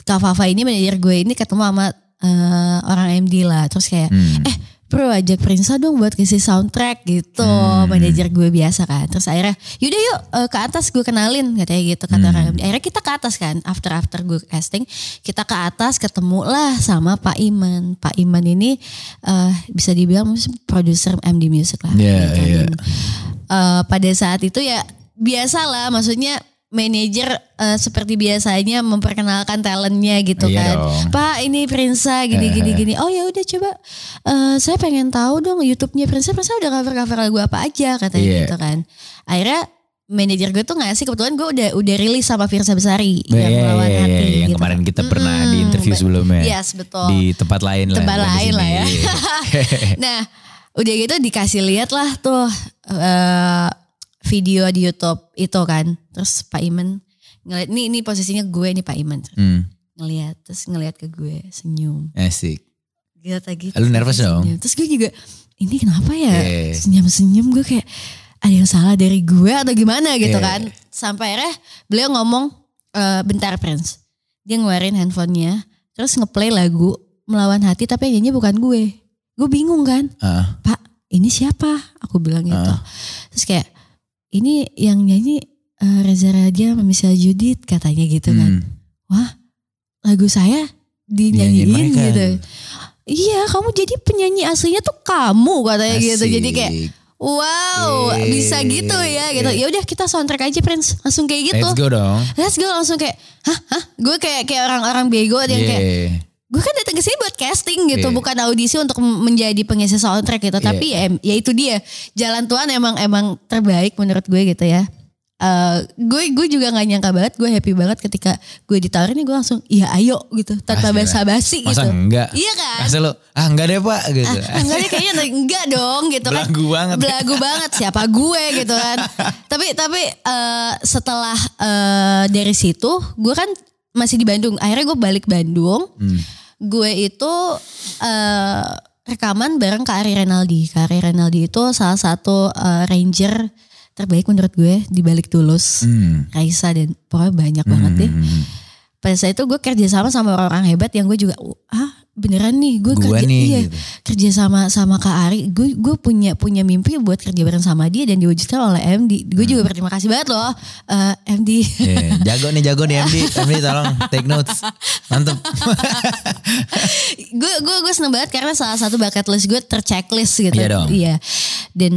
Speaker 2: Kak Fafa ini manajer gue ini ketemu sama eh, orang MD lah. Terus kayak
Speaker 1: Hmm.
Speaker 2: eh bro ajak Prinsa dong buat ngisi soundtrack gitu
Speaker 1: Hmm.
Speaker 2: manajer gue biasa kan terus akhirnya yaudah yuk eh, ke atas gue kenalin katanya gitu
Speaker 1: Hmm.
Speaker 2: kata orang akhirnya kita ke atas kan after after gue casting kita ke atas ketemu lah sama Pak Iman Pak Iman ini eh, bisa dibilang mungkin produser MD Music lah
Speaker 1: Iya,
Speaker 2: ya kan.
Speaker 1: iya.
Speaker 2: Eh, pada saat itu ya biasalah maksudnya manajer eh, seperti biasanya memperkenalkan talentnya gitu
Speaker 1: Iya
Speaker 2: kan
Speaker 1: dong.
Speaker 2: Pak ini Prinsa gini gini gini. Oh ya udah coba eh, saya pengen tahu dong YouTube-nya Prinsa. Prinsa udah cover cover lagu apa aja katanya
Speaker 1: Iya.
Speaker 2: gitu kan. Akhirnya manajer gue tuh ngasih kebetulan gue udah udah rilis sama Firsa Besari
Speaker 1: Iya,
Speaker 2: yang
Speaker 1: iya,
Speaker 2: lawan
Speaker 1: iya,
Speaker 2: hati
Speaker 1: iya, yang
Speaker 2: gitu.
Speaker 1: kemarin kita pernah
Speaker 2: Mm-mm,
Speaker 1: di interview
Speaker 2: ba-
Speaker 1: sebelumnya
Speaker 2: Yes betul.
Speaker 1: di tempat lain lah
Speaker 2: Tempat
Speaker 1: bukan di
Speaker 2: lain
Speaker 1: sini.
Speaker 2: lah ya.
Speaker 1: Iya.
Speaker 2: nah udah gitu dikasih lihat lah tuh eh, video di YouTube itu kan. Terus Pak Iman ngeliat nih ini posisinya gue nih Pak Iman
Speaker 1: hmm,
Speaker 2: ngeliat terus ngeliat ke gue senyum
Speaker 1: asik
Speaker 2: Gila tadi.
Speaker 1: Lu nervous dong? Iya.
Speaker 2: Senyum. Terus gue juga ini kenapa ya
Speaker 1: Yeah.
Speaker 2: senyum-senyum gue kayak ada yang salah dari gue atau gimana gitu
Speaker 1: Yeah.
Speaker 2: kan. Sampai akhirnya beliau ngomong "Eh, bentar Prince. Dia ngeluarin handphonenya terus ngeplay lagu melawan hati tapi yang nyanyi bukan gue. Gue bingung kan
Speaker 1: Ah,
Speaker 2: pak ini siapa aku bilang gitu terus kayak ini yang nyanyi eh, Reza Radian sama Michelle Judith katanya gitu kan
Speaker 1: hmm.
Speaker 2: lagu saya
Speaker 1: Dinyanyiin
Speaker 2: dinyanyiin
Speaker 1: mereka.
Speaker 2: gitu. Iya, kamu jadi penyanyi aslinya tuh kamu katanya gitu. Jadi
Speaker 1: Asik. Iya,
Speaker 2: kayak wow,
Speaker 1: Yeay.
Speaker 2: bisa gitu ya gitu. Ya udah kita soundtrack aja Prince, langsung kayak gitu.
Speaker 1: let's go dong
Speaker 2: Let's go langsung kayak hah hah gue kayak kayak orang-orang bego yang kayak
Speaker 1: Yeah.
Speaker 2: gue kan datang ke sini buat casting gitu,
Speaker 1: Iya.
Speaker 2: bukan audisi untuk m- menjadi pengisi soundtrack gitu. Tapi ya, em- ya itu dia jalan Tuhan emang emang terbaik menurut gue gitu ya. eh, gue gue juga nggak nyangka banget gue happy banget ketika gue ditawarin gue langsung iya ayo gitu tanpa
Speaker 1: Asli,
Speaker 2: basa-basi gitu
Speaker 1: Masa enggak?
Speaker 2: iya kan
Speaker 1: Masa lo, ah enggak deh pak gitu.
Speaker 2: Ah, enggak deh kayaknya enggak- enggak dong gitu kan.
Speaker 1: Belagu banget.
Speaker 2: Belagu banget siapa gue gitu kan. tapi tapi eh, setelah eh, dari situ gue kan masih di Bandung. Akhirnya gue balik Bandung.
Speaker 1: Hmm,
Speaker 2: Gue itu eh, rekaman bareng Kak Ari Renaldi. Kak Ari Renaldi itu salah satu eh, ranger terbaik menurut gue di balik Tulus.
Speaker 1: Hmm.
Speaker 2: Raisa dan pokoknya banyak banget deh.
Speaker 1: Hmm.
Speaker 2: Pada saat itu gue kerja sama sama orang-orang hebat yang gue juga ah beneran nih gue
Speaker 1: Gua
Speaker 2: kerja
Speaker 1: nih,
Speaker 2: iya,
Speaker 1: gitu.
Speaker 2: kerja sama sama Kak Ari. Gue gue punya punya mimpi buat kerja bareng sama dia dan diwujudkan oleh MD. Gue
Speaker 1: Hmm.
Speaker 2: juga berterima kasih banget loh eh, MD.
Speaker 1: Eh, jago nih jago nih MD, MD tolong take notes. Mantep.
Speaker 2: gue gue gue seneng banget karena salah satu bucket list gue terchecklist gitu.
Speaker 1: Iya dong.
Speaker 2: Dan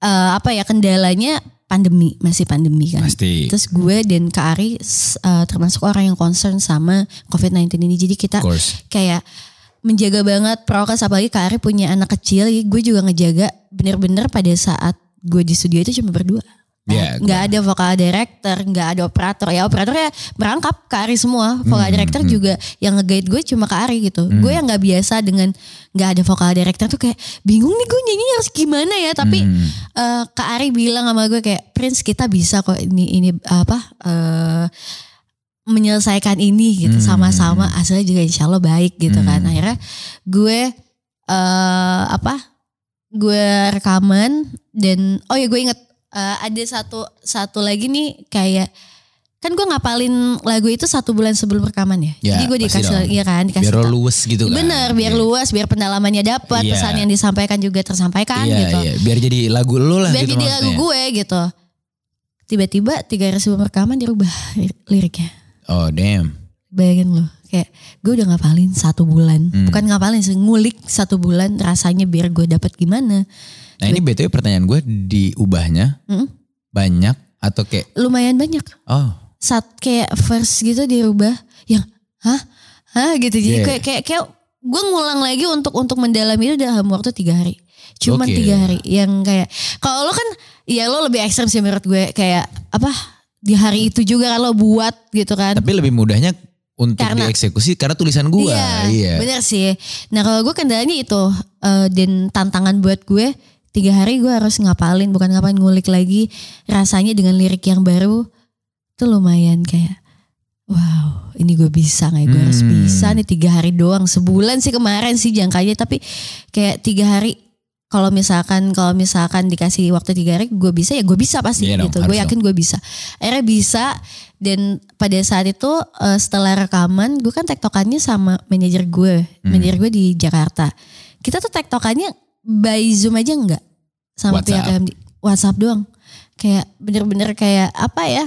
Speaker 2: eh, apa ya kendalanya pandemi masih pandemi kan.
Speaker 1: Pasti.
Speaker 2: Terus gue dan Kak Ari s- eh, termasuk orang yang concern sama COVID-19 ini. Jadi kita
Speaker 1: Of course.
Speaker 2: kayak menjaga banget prokes apalagi Kak Ari punya anak kecil jadi gue juga ngejaga bener-bener pada saat gue di studio itu cuma berdua Nah,
Speaker 1: Iya,
Speaker 2: nggak ada vokal director nggak ada operator ya operatornya merangkap Kak Ari semua vokal director juga yang nge-guide gue cuma Kak Ari gitu gue yang nggak biasa dengan nggak ada vokal director tuh kayak bingung nih gue nyanyi harus gimana ya
Speaker 1: Hmm.
Speaker 2: tapi eh, Kak Ari bilang sama gue kayak Prince kita bisa kok ini ini apa eh, menyelesaikan ini gitu
Speaker 1: Hmm.
Speaker 2: sama-sama hasilnya juga insya Allah baik gitu kan akhirnya gue eh apa gue rekaman dan oh ya gue inget eh, ada satu satu lagi nih kayak kan gue ngapalin lagu itu satu bulan sebelum rekaman ya,
Speaker 1: Ya,
Speaker 2: jadi gue
Speaker 1: pasti
Speaker 2: dikasih
Speaker 1: dong.
Speaker 2: iya kan dikasih
Speaker 1: Biar lo
Speaker 2: tau.
Speaker 1: luwes gitu kan.
Speaker 2: bener biar
Speaker 1: Iya.
Speaker 2: luas biar pendalamannya dapat
Speaker 1: Iya.
Speaker 2: pesan yang disampaikan juga tersampaikan
Speaker 1: Iya,
Speaker 2: gitu
Speaker 1: iya. Biar jadi lagu lo lah
Speaker 2: biar
Speaker 1: gitu
Speaker 2: jadi lagu
Speaker 1: maksudnya.
Speaker 2: gue gitu tiba-tiba tiga hari sebelum rekaman dirubah liriknya
Speaker 1: Oh damn.
Speaker 2: bayangin loh kayak gue udah ngapalin satu bulan
Speaker 1: Hmm.
Speaker 2: bukan ngapalin sih ngulik satu bulan rasanya biar gue dapat gimana
Speaker 1: Nah ini BTW pertanyaan gue diubahnya
Speaker 2: Mm,
Speaker 1: banyak atau kayak
Speaker 2: lumayan banyak
Speaker 1: oh
Speaker 2: saat kayak verse gitu dirubah yang hah hah gitu jadi
Speaker 1: Yeah.
Speaker 2: kayak kayak kayak gue ngulang lagi untuk untuk mendalami itu dalam waktu tiga hari cuman
Speaker 1: Oke.
Speaker 2: tiga hari yang kayak kalau lo kan ya lo lebih ekstrem sih menurut gue kayak apa di hari itu juga kan lo buat gitu kan
Speaker 1: tapi lebih mudahnya untuk
Speaker 2: Karena-
Speaker 1: dieksekusi karena tulisan gue.
Speaker 2: Iya,
Speaker 1: iya.
Speaker 2: bener sih. Nah kalau gue kendalanya itu eh, dan tantangan buat gue tiga hari gue harus ngapalin, bukan ngapalin ngulik lagi rasanya dengan lirik yang baru tuh lumayan kayak wow ini gue bisa nggak ya? gue harus
Speaker 1: Hmm.
Speaker 2: bisa nih tiga hari doang sebulan sih kemarin sih jangkanya tapi kayak tiga hari kalau misalkan kalau misalkan dikasih waktu tiga hari gue bisa ya gue bisa pasti
Speaker 1: Iya dong,
Speaker 2: gitu
Speaker 1: harus
Speaker 2: gue yakin gue bisa akhirnya bisa dan pada saat itu eh, setelah rekaman gue kan tektokannya sama manajer gue manajer gue di Jakarta kita tuh tektokannya by zoom aja enggak sama pihak
Speaker 1: WhatsApp.
Speaker 2: MD. WhatsApp doang kayak bener-bener kayak apa ya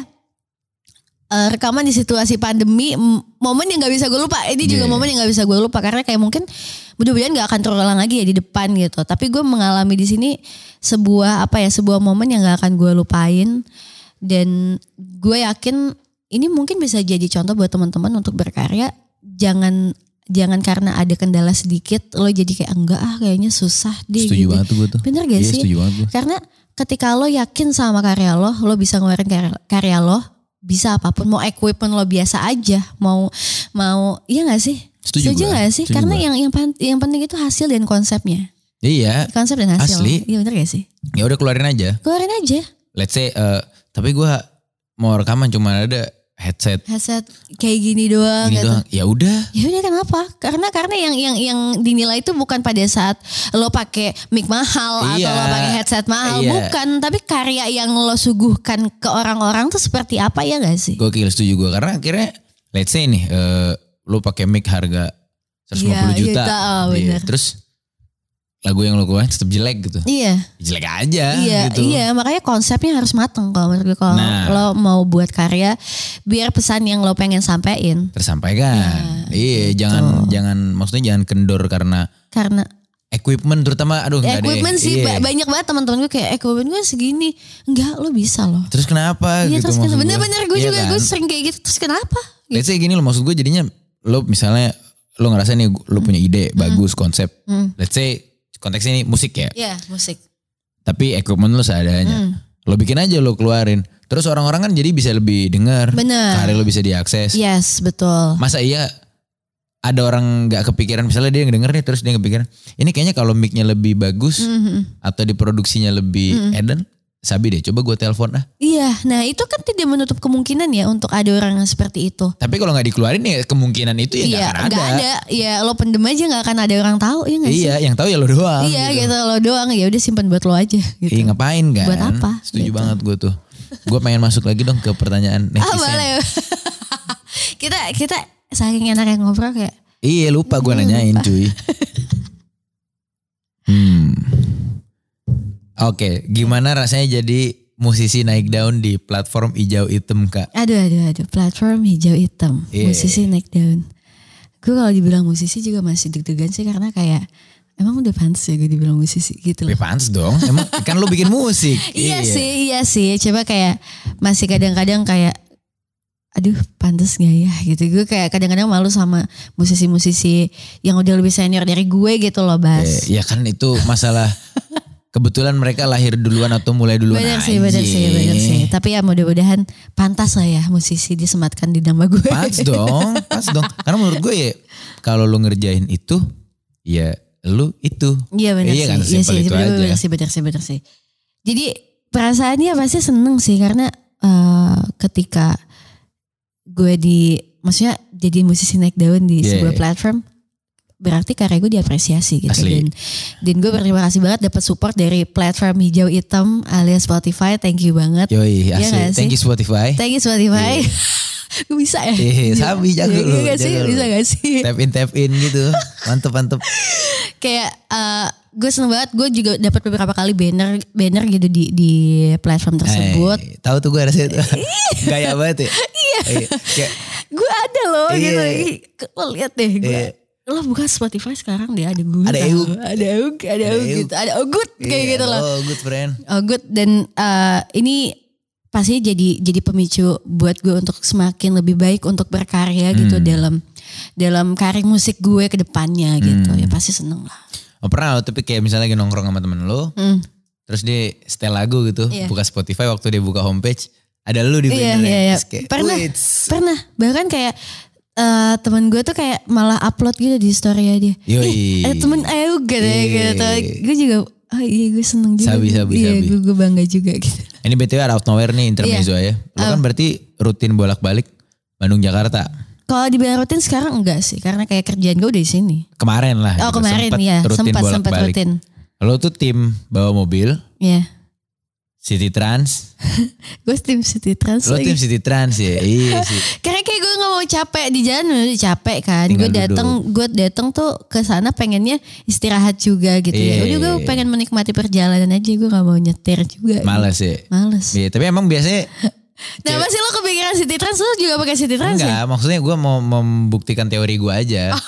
Speaker 2: eh, rekaman di situasi pandemi m- momen yang nggak bisa gue lupa ini juga
Speaker 1: Yeah.
Speaker 2: momen yang nggak bisa gue lupa karena kayak mungkin mudah-mudahan nggak akan terulang lagi ya di depan gitu tapi gue mengalami di sini sebuah apa ya sebuah momen yang nggak akan gue lupain dan gue yakin ini mungkin bisa jadi contoh buat teman-teman untuk berkarya jangan jangan karena ada kendala sedikit lo jadi kayak enggak ah kayaknya susah deh
Speaker 1: Setuju
Speaker 2: gitu.
Speaker 1: banget tuh gue tuh.
Speaker 2: bener
Speaker 1: Iya
Speaker 2: gak sih
Speaker 1: setuju banget gue.
Speaker 2: karena ketika lo yakin sama karya lo, lo bisa ngeluarin karya, karya lo, bisa apapun, mau equipment lo biasa aja, mau mau iya gak sih?
Speaker 1: Setuju gue.
Speaker 2: gak sih?
Speaker 1: Setuju
Speaker 2: Karena
Speaker 1: gue.
Speaker 2: yang yang, pan- yang penting itu hasil dan konsepnya.
Speaker 1: Iya.
Speaker 2: Konsep dan hasil.
Speaker 1: Asli.
Speaker 2: Iya bener gak sih?
Speaker 1: Ya udah keluarin aja.
Speaker 2: Keluarin aja.
Speaker 1: Let's say eh, tapi gue mau rekaman cuma ada headset
Speaker 2: Hasil kayak gini doang
Speaker 1: ini
Speaker 2: gitu.
Speaker 1: doang. Ya udah.
Speaker 2: Ya udah kenapa? Karena karena yang yang yang dinilai itu bukan pada saat lo pakai mic mahal
Speaker 1: Iya.
Speaker 2: atau lo pakai headset mahal,
Speaker 1: Iya.
Speaker 2: bukan, tapi karya yang lo suguhkan ke orang-orang tuh seperti apa ya gak sih?
Speaker 1: Gokil setuju gue karena akhirnya let's say nih eh, lu pakai mic harga 150
Speaker 2: Iya,
Speaker 1: juta.
Speaker 2: juta, oh,
Speaker 1: Iya,
Speaker 2: bener. Iya.
Speaker 1: Terus lagu yang lu keluarin tetap jelek gitu. Jelek aja
Speaker 2: Iya,
Speaker 1: gitu.
Speaker 2: iya, makanya konsepnya harus mateng kalau menurut gue kalau
Speaker 1: Nah.
Speaker 2: lo mau buat karya biar pesan yang lo pengen sampein
Speaker 1: Tersampaikan.
Speaker 2: Ya,
Speaker 1: iya,
Speaker 2: gitu.
Speaker 1: jangan jangan maksudnya jangan kendor karena
Speaker 2: karena
Speaker 1: equipment terutama aduh
Speaker 2: ya,
Speaker 1: enggak deh.
Speaker 2: equipment sih
Speaker 1: Iya.
Speaker 2: ba- banyak banget teman-teman gue kayak equipment gue segini. Enggak, lo bisa loh.
Speaker 1: Terus kenapa
Speaker 2: Iya,
Speaker 1: gitu
Speaker 2: terus
Speaker 1: maksud
Speaker 2: kenapa?
Speaker 1: gua.
Speaker 2: Bener-bener gue
Speaker 1: Iya
Speaker 2: juga
Speaker 1: kan?
Speaker 2: gue sering kayak gitu. Terus kenapa?
Speaker 1: Let's say gini loh maksud gue jadinya lo misalnya lo ngerasa nih lo punya ide bagus konsep.
Speaker 2: Hmm.
Speaker 1: Let's say konteksnya ini musik ya.
Speaker 2: Ya, musik.
Speaker 1: Tapi equipment lo seadanya.
Speaker 2: Hmm.
Speaker 1: Lo bikin aja lo keluarin. Terus orang-orang kan jadi bisa lebih dengar.
Speaker 2: Bener.
Speaker 1: Karir lo bisa diakses.
Speaker 2: Yes, betul.
Speaker 1: Masa iya ada orang nggak kepikiran misalnya dia denger nih terus dia kepikiran ini kayaknya kalau mic-nya lebih bagus
Speaker 2: Mhm.
Speaker 1: atau diproduksinya lebih eden sabi deh coba gue telepon ah
Speaker 2: Iya, nah itu kan tidak menutup kemungkinan ya untuk ada orang yang seperti itu.
Speaker 1: tapi kalau nggak dikeluarin ya kemungkinan itu ya nggak
Speaker 2: Iya,
Speaker 1: akan ada.
Speaker 2: nggak ada. Iya, lo pendem aja nggak akan ada orang tahu ya nggak sih?
Speaker 1: iya yang tahu ya lo doang
Speaker 2: Iya gitu. lo doang ya udah simpan buat lo aja gitu.
Speaker 1: Ih, ngapain kan?
Speaker 2: Buat apa?
Speaker 1: Setuju
Speaker 2: Gitu.
Speaker 1: banget gue tuh. Gue pengen masuk lagi dong ke pertanyaan
Speaker 2: Ah
Speaker 1: netizen.
Speaker 2: boleh. kita kita saking enak yang ngobrol kayak
Speaker 1: Iya lupa gue
Speaker 2: Hmm,
Speaker 1: nanyain
Speaker 2: lupa.
Speaker 1: cuy. Hmm. Oke, gimana rasanya jadi musisi naik daun di platform hijau hitam kak?
Speaker 2: aduh aduh aduh platform hijau hitam
Speaker 1: Iya.
Speaker 2: musisi naik daun. Gue kalau dibilang musisi juga masih deg-degan sih karena kayak emang udah pantas ya gue dibilang musisi gitu loh.
Speaker 1: Tapi pantas dong, emang kan lu bikin musik.
Speaker 2: Iya, sih, iya sih. Coba kayak masih kadang-kadang kayak aduh pantas gak ya gitu. Gue kayak kadang-kadang malu sama musisi-musisi yang udah lebih senior dari gue gitu loh, Bas.
Speaker 1: Eh, ya kan itu masalah kebetulan mereka lahir duluan atau mulai duluan
Speaker 2: Bener
Speaker 1: aja.
Speaker 2: sih, bener sih, bener sih. Tapi ya mudah-mudahan pantas lah ya musisi disematkan di nama gue.
Speaker 1: Pas dong, pas dong. Karena menurut gue ya kalau lu ngerjain itu ya lu itu.
Speaker 2: Iya
Speaker 1: Iya
Speaker 2: benar sih.
Speaker 1: kan,
Speaker 2: iya
Speaker 1: sesimpel
Speaker 2: sih,
Speaker 1: itu
Speaker 2: bener,
Speaker 1: aja.
Speaker 2: bener sih, bener sih, bener sih. Jadi perasaannya pasti seneng sih karena eh, ketika gue di, maksudnya jadi musisi naik daun di
Speaker 1: Iya,
Speaker 2: sebuah
Speaker 1: iya.
Speaker 2: platform, berarti karya gue diapresiasi gitu
Speaker 1: Asli.
Speaker 2: dan dan gue berterima kasih banget dapat support dari platform hijau hitam alias Spotify. Thank you banget.
Speaker 1: Yoi,
Speaker 2: Iya
Speaker 1: asli.
Speaker 2: nggak
Speaker 1: Thank
Speaker 2: sih?
Speaker 1: you Spotify.
Speaker 2: Thank you Spotify. Gue bisa
Speaker 1: Eh,
Speaker 2: ya. Gila.
Speaker 1: Iya. sabi jago
Speaker 2: Iya,
Speaker 1: lu,
Speaker 2: gak sih?
Speaker 1: jago lu.
Speaker 2: Bisa gak sih?
Speaker 1: Tap in tap in gitu. Mantep mantep.
Speaker 2: kayak eh, gue seneng banget gue juga dapat beberapa kali banner banner gitu di di platform tersebut
Speaker 1: Eh, tahu tuh gue rasanya tuh. Gaya banget ya. Iya. Kayak,
Speaker 2: gue ada loh
Speaker 1: Iya.
Speaker 2: gitu Ih, lo lihat deh gue
Speaker 1: Iya.
Speaker 2: lo buka Spotify sekarang deh ada gue
Speaker 1: Ada
Speaker 2: tau.
Speaker 1: Eug.
Speaker 2: ada Eug ada Eug
Speaker 1: Eug.
Speaker 2: gitu ada Ogut kayak
Speaker 1: iya,
Speaker 2: gitu loh
Speaker 1: Oh, good friend.
Speaker 2: Ogut dan eh, ini pasti jadi jadi pemicu buat gue untuk semakin lebih baik untuk berkarya gitu
Speaker 1: Hmm.
Speaker 2: dalam dalam karir musik gue ke depannya gitu ya
Speaker 1: Hmm.
Speaker 2: pasti seneng lah
Speaker 1: Oh, pernah lo tapi kayak misalnya lagi nongkrong sama temen lo.
Speaker 2: Hmm.
Speaker 1: Terus dia setel lagu gitu.
Speaker 2: Iya.
Speaker 1: Buka Spotify waktu dia buka homepage. Ada lu di
Speaker 2: Iya,
Speaker 1: bannernya.
Speaker 2: iya, iya.
Speaker 1: Terus kayak,
Speaker 2: Pernah,
Speaker 1: "Wits."
Speaker 2: pernah. Bahkan kayak eh teman gue tuh kayak malah upload gitu di story dia.
Speaker 1: Yoi.
Speaker 2: "Ih, Ada temen Ayu gitu, ya,
Speaker 1: Iya.
Speaker 2: gitu. Gue juga, oh iya gue seneng juga.
Speaker 1: Sabi, sabi,
Speaker 2: iya,
Speaker 1: sabi.
Speaker 2: Gue, gue bangga juga gitu.
Speaker 1: Ini BTW out of nowhere nih intermezzo
Speaker 2: Iya.
Speaker 1: ya.
Speaker 2: Oh.
Speaker 1: Lo kan berarti rutin bolak-balik Bandung Jakarta.
Speaker 2: Kalau dibilang rutin sekarang enggak sih, karena kayak kerjaan gue udah di sini.
Speaker 1: Kemarin lah.
Speaker 2: Oh
Speaker 1: gitu,
Speaker 2: kemarin
Speaker 1: sempet
Speaker 2: ya,
Speaker 1: rutin
Speaker 2: sempat sempat
Speaker 1: bolak-balik.
Speaker 2: rutin.
Speaker 1: Lo tuh tim bawa mobil
Speaker 2: Ya,
Speaker 1: City Trans.
Speaker 2: gue tim City Trans
Speaker 1: Lo tim
Speaker 2: lagi.
Speaker 1: City Trans ya. Iya sih.
Speaker 2: Karena kayak gue gak mau capek di jalan udah capek kan.
Speaker 1: Tinggal
Speaker 2: Gue datang, gue datang tuh ke sana pengennya istirahat juga gitu
Speaker 1: Iya.
Speaker 2: ya. Udah gue pengen menikmati perjalanan aja, gue gak mau nyetir juga.
Speaker 1: Males ya.
Speaker 2: Males.
Speaker 1: Iya, tapi emang biasanya
Speaker 2: Nah masih lo kepikiran City Trans, lo juga pakai City Trans ya?
Speaker 1: enggak, maksudnya gue mau membuktikan teori gue aja.
Speaker 2: Oh.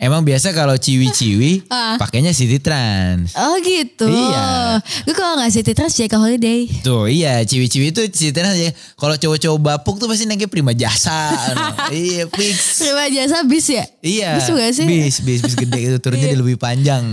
Speaker 1: Emang biasa kalau ciwi-ciwi
Speaker 2: Ah.
Speaker 1: pakainya City Trans.
Speaker 2: Oh gitu.
Speaker 1: Iya.
Speaker 2: Gue kalau gak City Trans, JK Holiday.
Speaker 1: Tuh iya ciwi-ciwi itu City Trans aja. Kalau cowok-cowok bapuk tuh pasti naiknya prima jasa. ano. iya fix.
Speaker 2: Terima jasa bis ya?
Speaker 1: Iya.
Speaker 2: Bis juga sih. Iya.
Speaker 1: Bis, bis, bis gede itu turunnya dia lebih panjang.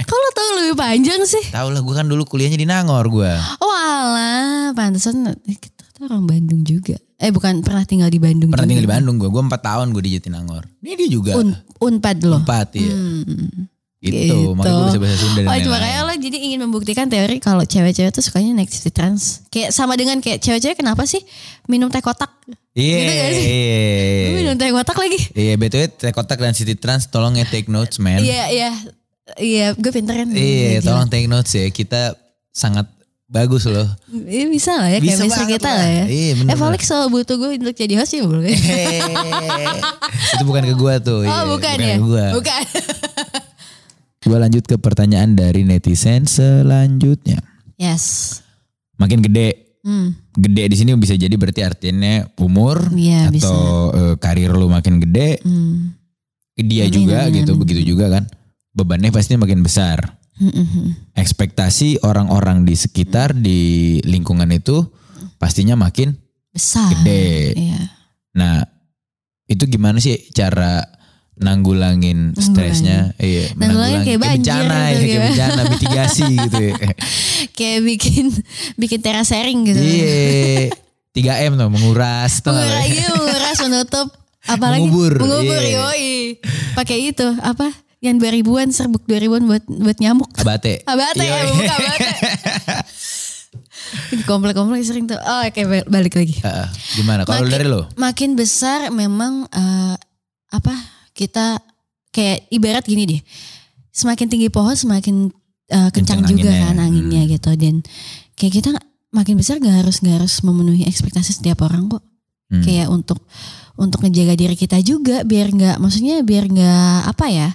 Speaker 2: Kok lo tau lebih panjang sih?
Speaker 1: Tahu lah gue kan dulu kuliahnya di Nangor gue.
Speaker 2: Oh alah, pantesan eh, kita tuh orang Bandung juga. Eh bukan, pernah tinggal di Bandung
Speaker 1: Pernah tinggal di
Speaker 2: juga.
Speaker 1: Bandung gue. Gue 4 tahun gue di Jatinangor. Ini dia juga.
Speaker 2: Un, Unpad lo?
Speaker 1: Empat iya.
Speaker 2: Hmm.
Speaker 1: Gitu. Makanya gue bisa bahasa Sunda dan
Speaker 2: Oh,
Speaker 1: lain-lain.
Speaker 2: itu makanya lo jadi ingin membuktikan teori kalau cewek-cewek tuh sukanya naik city trans. Kayak sama dengan kayak cewek-cewek kenapa sih minum teh kotak?
Speaker 1: Iya.
Speaker 2: Gitu gak sih?
Speaker 1: Iya.
Speaker 2: Gue minum teh kotak lagi.
Speaker 1: Iya, BTW Teh Kotak dan City Trans tolong ya take notes man.
Speaker 2: Iya, iya. Iya, gue pinter kan.
Speaker 1: Iya,
Speaker 2: Gila.
Speaker 1: tolong take notes ya. Kita sangat bagus loh.
Speaker 2: Iya, bisa lah ya
Speaker 1: Bisa
Speaker 2: chemistry
Speaker 1: banget
Speaker 2: kita
Speaker 1: lah.
Speaker 2: lah ya.
Speaker 1: Iya, bener, Iya.
Speaker 2: eh, Felix selalu butuh gue untuk jadi host ya boleh.
Speaker 1: Hehehe. Itu bukan ke gua tuh.
Speaker 2: Oh,
Speaker 1: iya.
Speaker 2: bukan, ya?
Speaker 1: Ke gua.
Speaker 2: Bukan.
Speaker 1: Gua lanjut ke pertanyaan dari netizen selanjutnya.
Speaker 2: yes.
Speaker 1: Makin gede,
Speaker 2: Hmm.
Speaker 1: gede di sini bisa jadi berarti artinya umur
Speaker 2: Iya,
Speaker 1: atau
Speaker 2: bisa.
Speaker 1: eh, karir lu makin gede,
Speaker 2: Hmm.
Speaker 1: dia
Speaker 2: Amin,
Speaker 1: juga
Speaker 2: amin,
Speaker 1: gitu,
Speaker 2: amin.
Speaker 1: begitu juga kan. Bebannya pasti makin besar.
Speaker 2: Hmm, hmm, hmm.
Speaker 1: ekspektasi orang-orang di sekitar di lingkungan itu pastinya makin
Speaker 2: Besar.
Speaker 1: Gede.
Speaker 2: Iya.
Speaker 1: nah itu gimana sih cara nanggulangin stresnya, iya,
Speaker 2: Nanggulangin kayak banjir
Speaker 1: bencana, ya,
Speaker 2: gitu
Speaker 1: kayak
Speaker 2: ya.
Speaker 1: bencana, mitigasi gitu. Ya.
Speaker 2: kayak bikin bikin terasering gitu.
Speaker 1: Iya, 3 M tuh menguras, tau nggak lo
Speaker 2: Menguras,
Speaker 1: ya?
Speaker 2: iya, menguras menutup apalagi
Speaker 1: Mengubur,
Speaker 2: mengubur
Speaker 1: iya.
Speaker 2: yoi. Pakai itu apa? Yang 2000-an serbuk 2000-an buat buat nyamuk.
Speaker 1: abate,
Speaker 2: Abate ya,
Speaker 1: Yoi.
Speaker 2: buka abate. Di komplek-komplek sering tuh. Oh, oke bal- balik lagi.
Speaker 1: Heeh, gimana? Kalau
Speaker 2: Makin-
Speaker 1: dari lo,
Speaker 2: Makin besar memang eh, apa? Kita kayak ibarat gini deh. Semakin tinggi pohon semakin eh, kencang,
Speaker 1: Kencang
Speaker 2: juga
Speaker 1: anginnya. ya. Hmm.
Speaker 2: kan anginnya gitu dan kayak kita makin besar gak harus gak harus memenuhi ekspektasi setiap orang kok.
Speaker 1: Hmm.
Speaker 2: Kayak untuk untuk ngejaga diri kita juga biar nggak maksudnya biar nggak apa ya?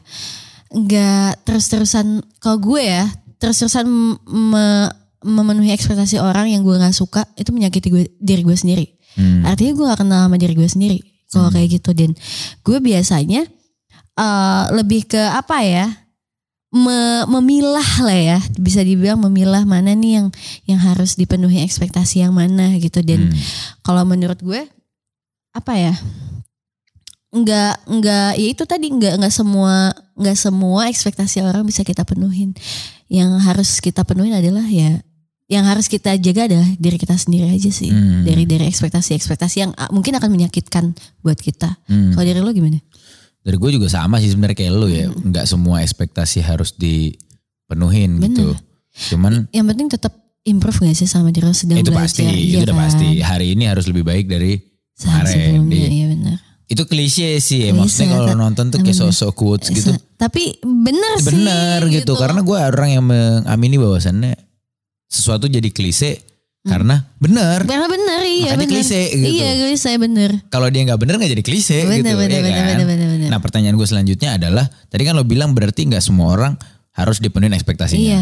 Speaker 2: nggak terus-terusan kalau gue ya terus-terusan me- memenuhi ekspektasi orang yang gue nggak suka itu menyakiti gue diri gue sendiri
Speaker 1: Hmm,
Speaker 2: artinya gue gak kenal sama diri gue sendiri kalau
Speaker 1: Hmm.
Speaker 2: kayak gitu dan gue biasanya eh, lebih ke apa ya me- memilah lah ya bisa dibilang memilah mana nih yang yang harus dipenuhi ekspektasi yang mana gitu dan
Speaker 1: hmm.
Speaker 2: kalau menurut gue apa ya nggak nggak ya itu tadi nggak nggak semua nggak semua ekspektasi orang bisa kita penuhin yang harus kita penuhin adalah ya yang harus kita jaga adalah diri kita sendiri aja sih
Speaker 1: Hmm.
Speaker 2: dari dari ekspektasi ekspektasi yang ah, mungkin akan menyakitkan buat kita
Speaker 1: Hmm.
Speaker 2: kalau dari Hmm. lo gimana
Speaker 1: Dari gue juga sama sih sebenarnya kayak lo ya, nggak semua ekspektasi harus dipenuhin
Speaker 2: Bener.
Speaker 1: gitu. Cuman
Speaker 2: yang penting tetap improve gak sih sama diri lo sedang
Speaker 1: itu pasti,
Speaker 2: belajar
Speaker 1: itu
Speaker 2: iya
Speaker 1: udah
Speaker 2: kan?
Speaker 1: pasti. Hari ini harus lebih baik dari
Speaker 2: Sehari
Speaker 1: Kemarin,
Speaker 2: sebelumnya
Speaker 1: iya.
Speaker 2: iya benar
Speaker 1: itu klise sih ya.
Speaker 2: Klise,
Speaker 1: Maksudnya kalau lo
Speaker 2: ta-
Speaker 1: nonton tuh kayak
Speaker 2: bener.
Speaker 1: sosok quotes gitu.
Speaker 2: Sa- tapi bener, sih
Speaker 1: Bener gitu. Karena gue orang yang mengamini bahwasannya sesuatu jadi klise karena bener.
Speaker 2: Karena bener iya
Speaker 1: Makanya
Speaker 2: bener.
Speaker 1: klise gitu.
Speaker 2: Iya klise bener.
Speaker 1: Kalau dia nggak bener nggak jadi klise
Speaker 2: Bener,
Speaker 1: gitu. ya
Speaker 2: bener, bener,
Speaker 1: kan?
Speaker 2: bener, bener, bener.
Speaker 1: Nah pertanyaan gue selanjutnya adalah tadi kan lo bilang berarti nggak semua orang harus dipenuhi ekspektasinya.
Speaker 2: Iya.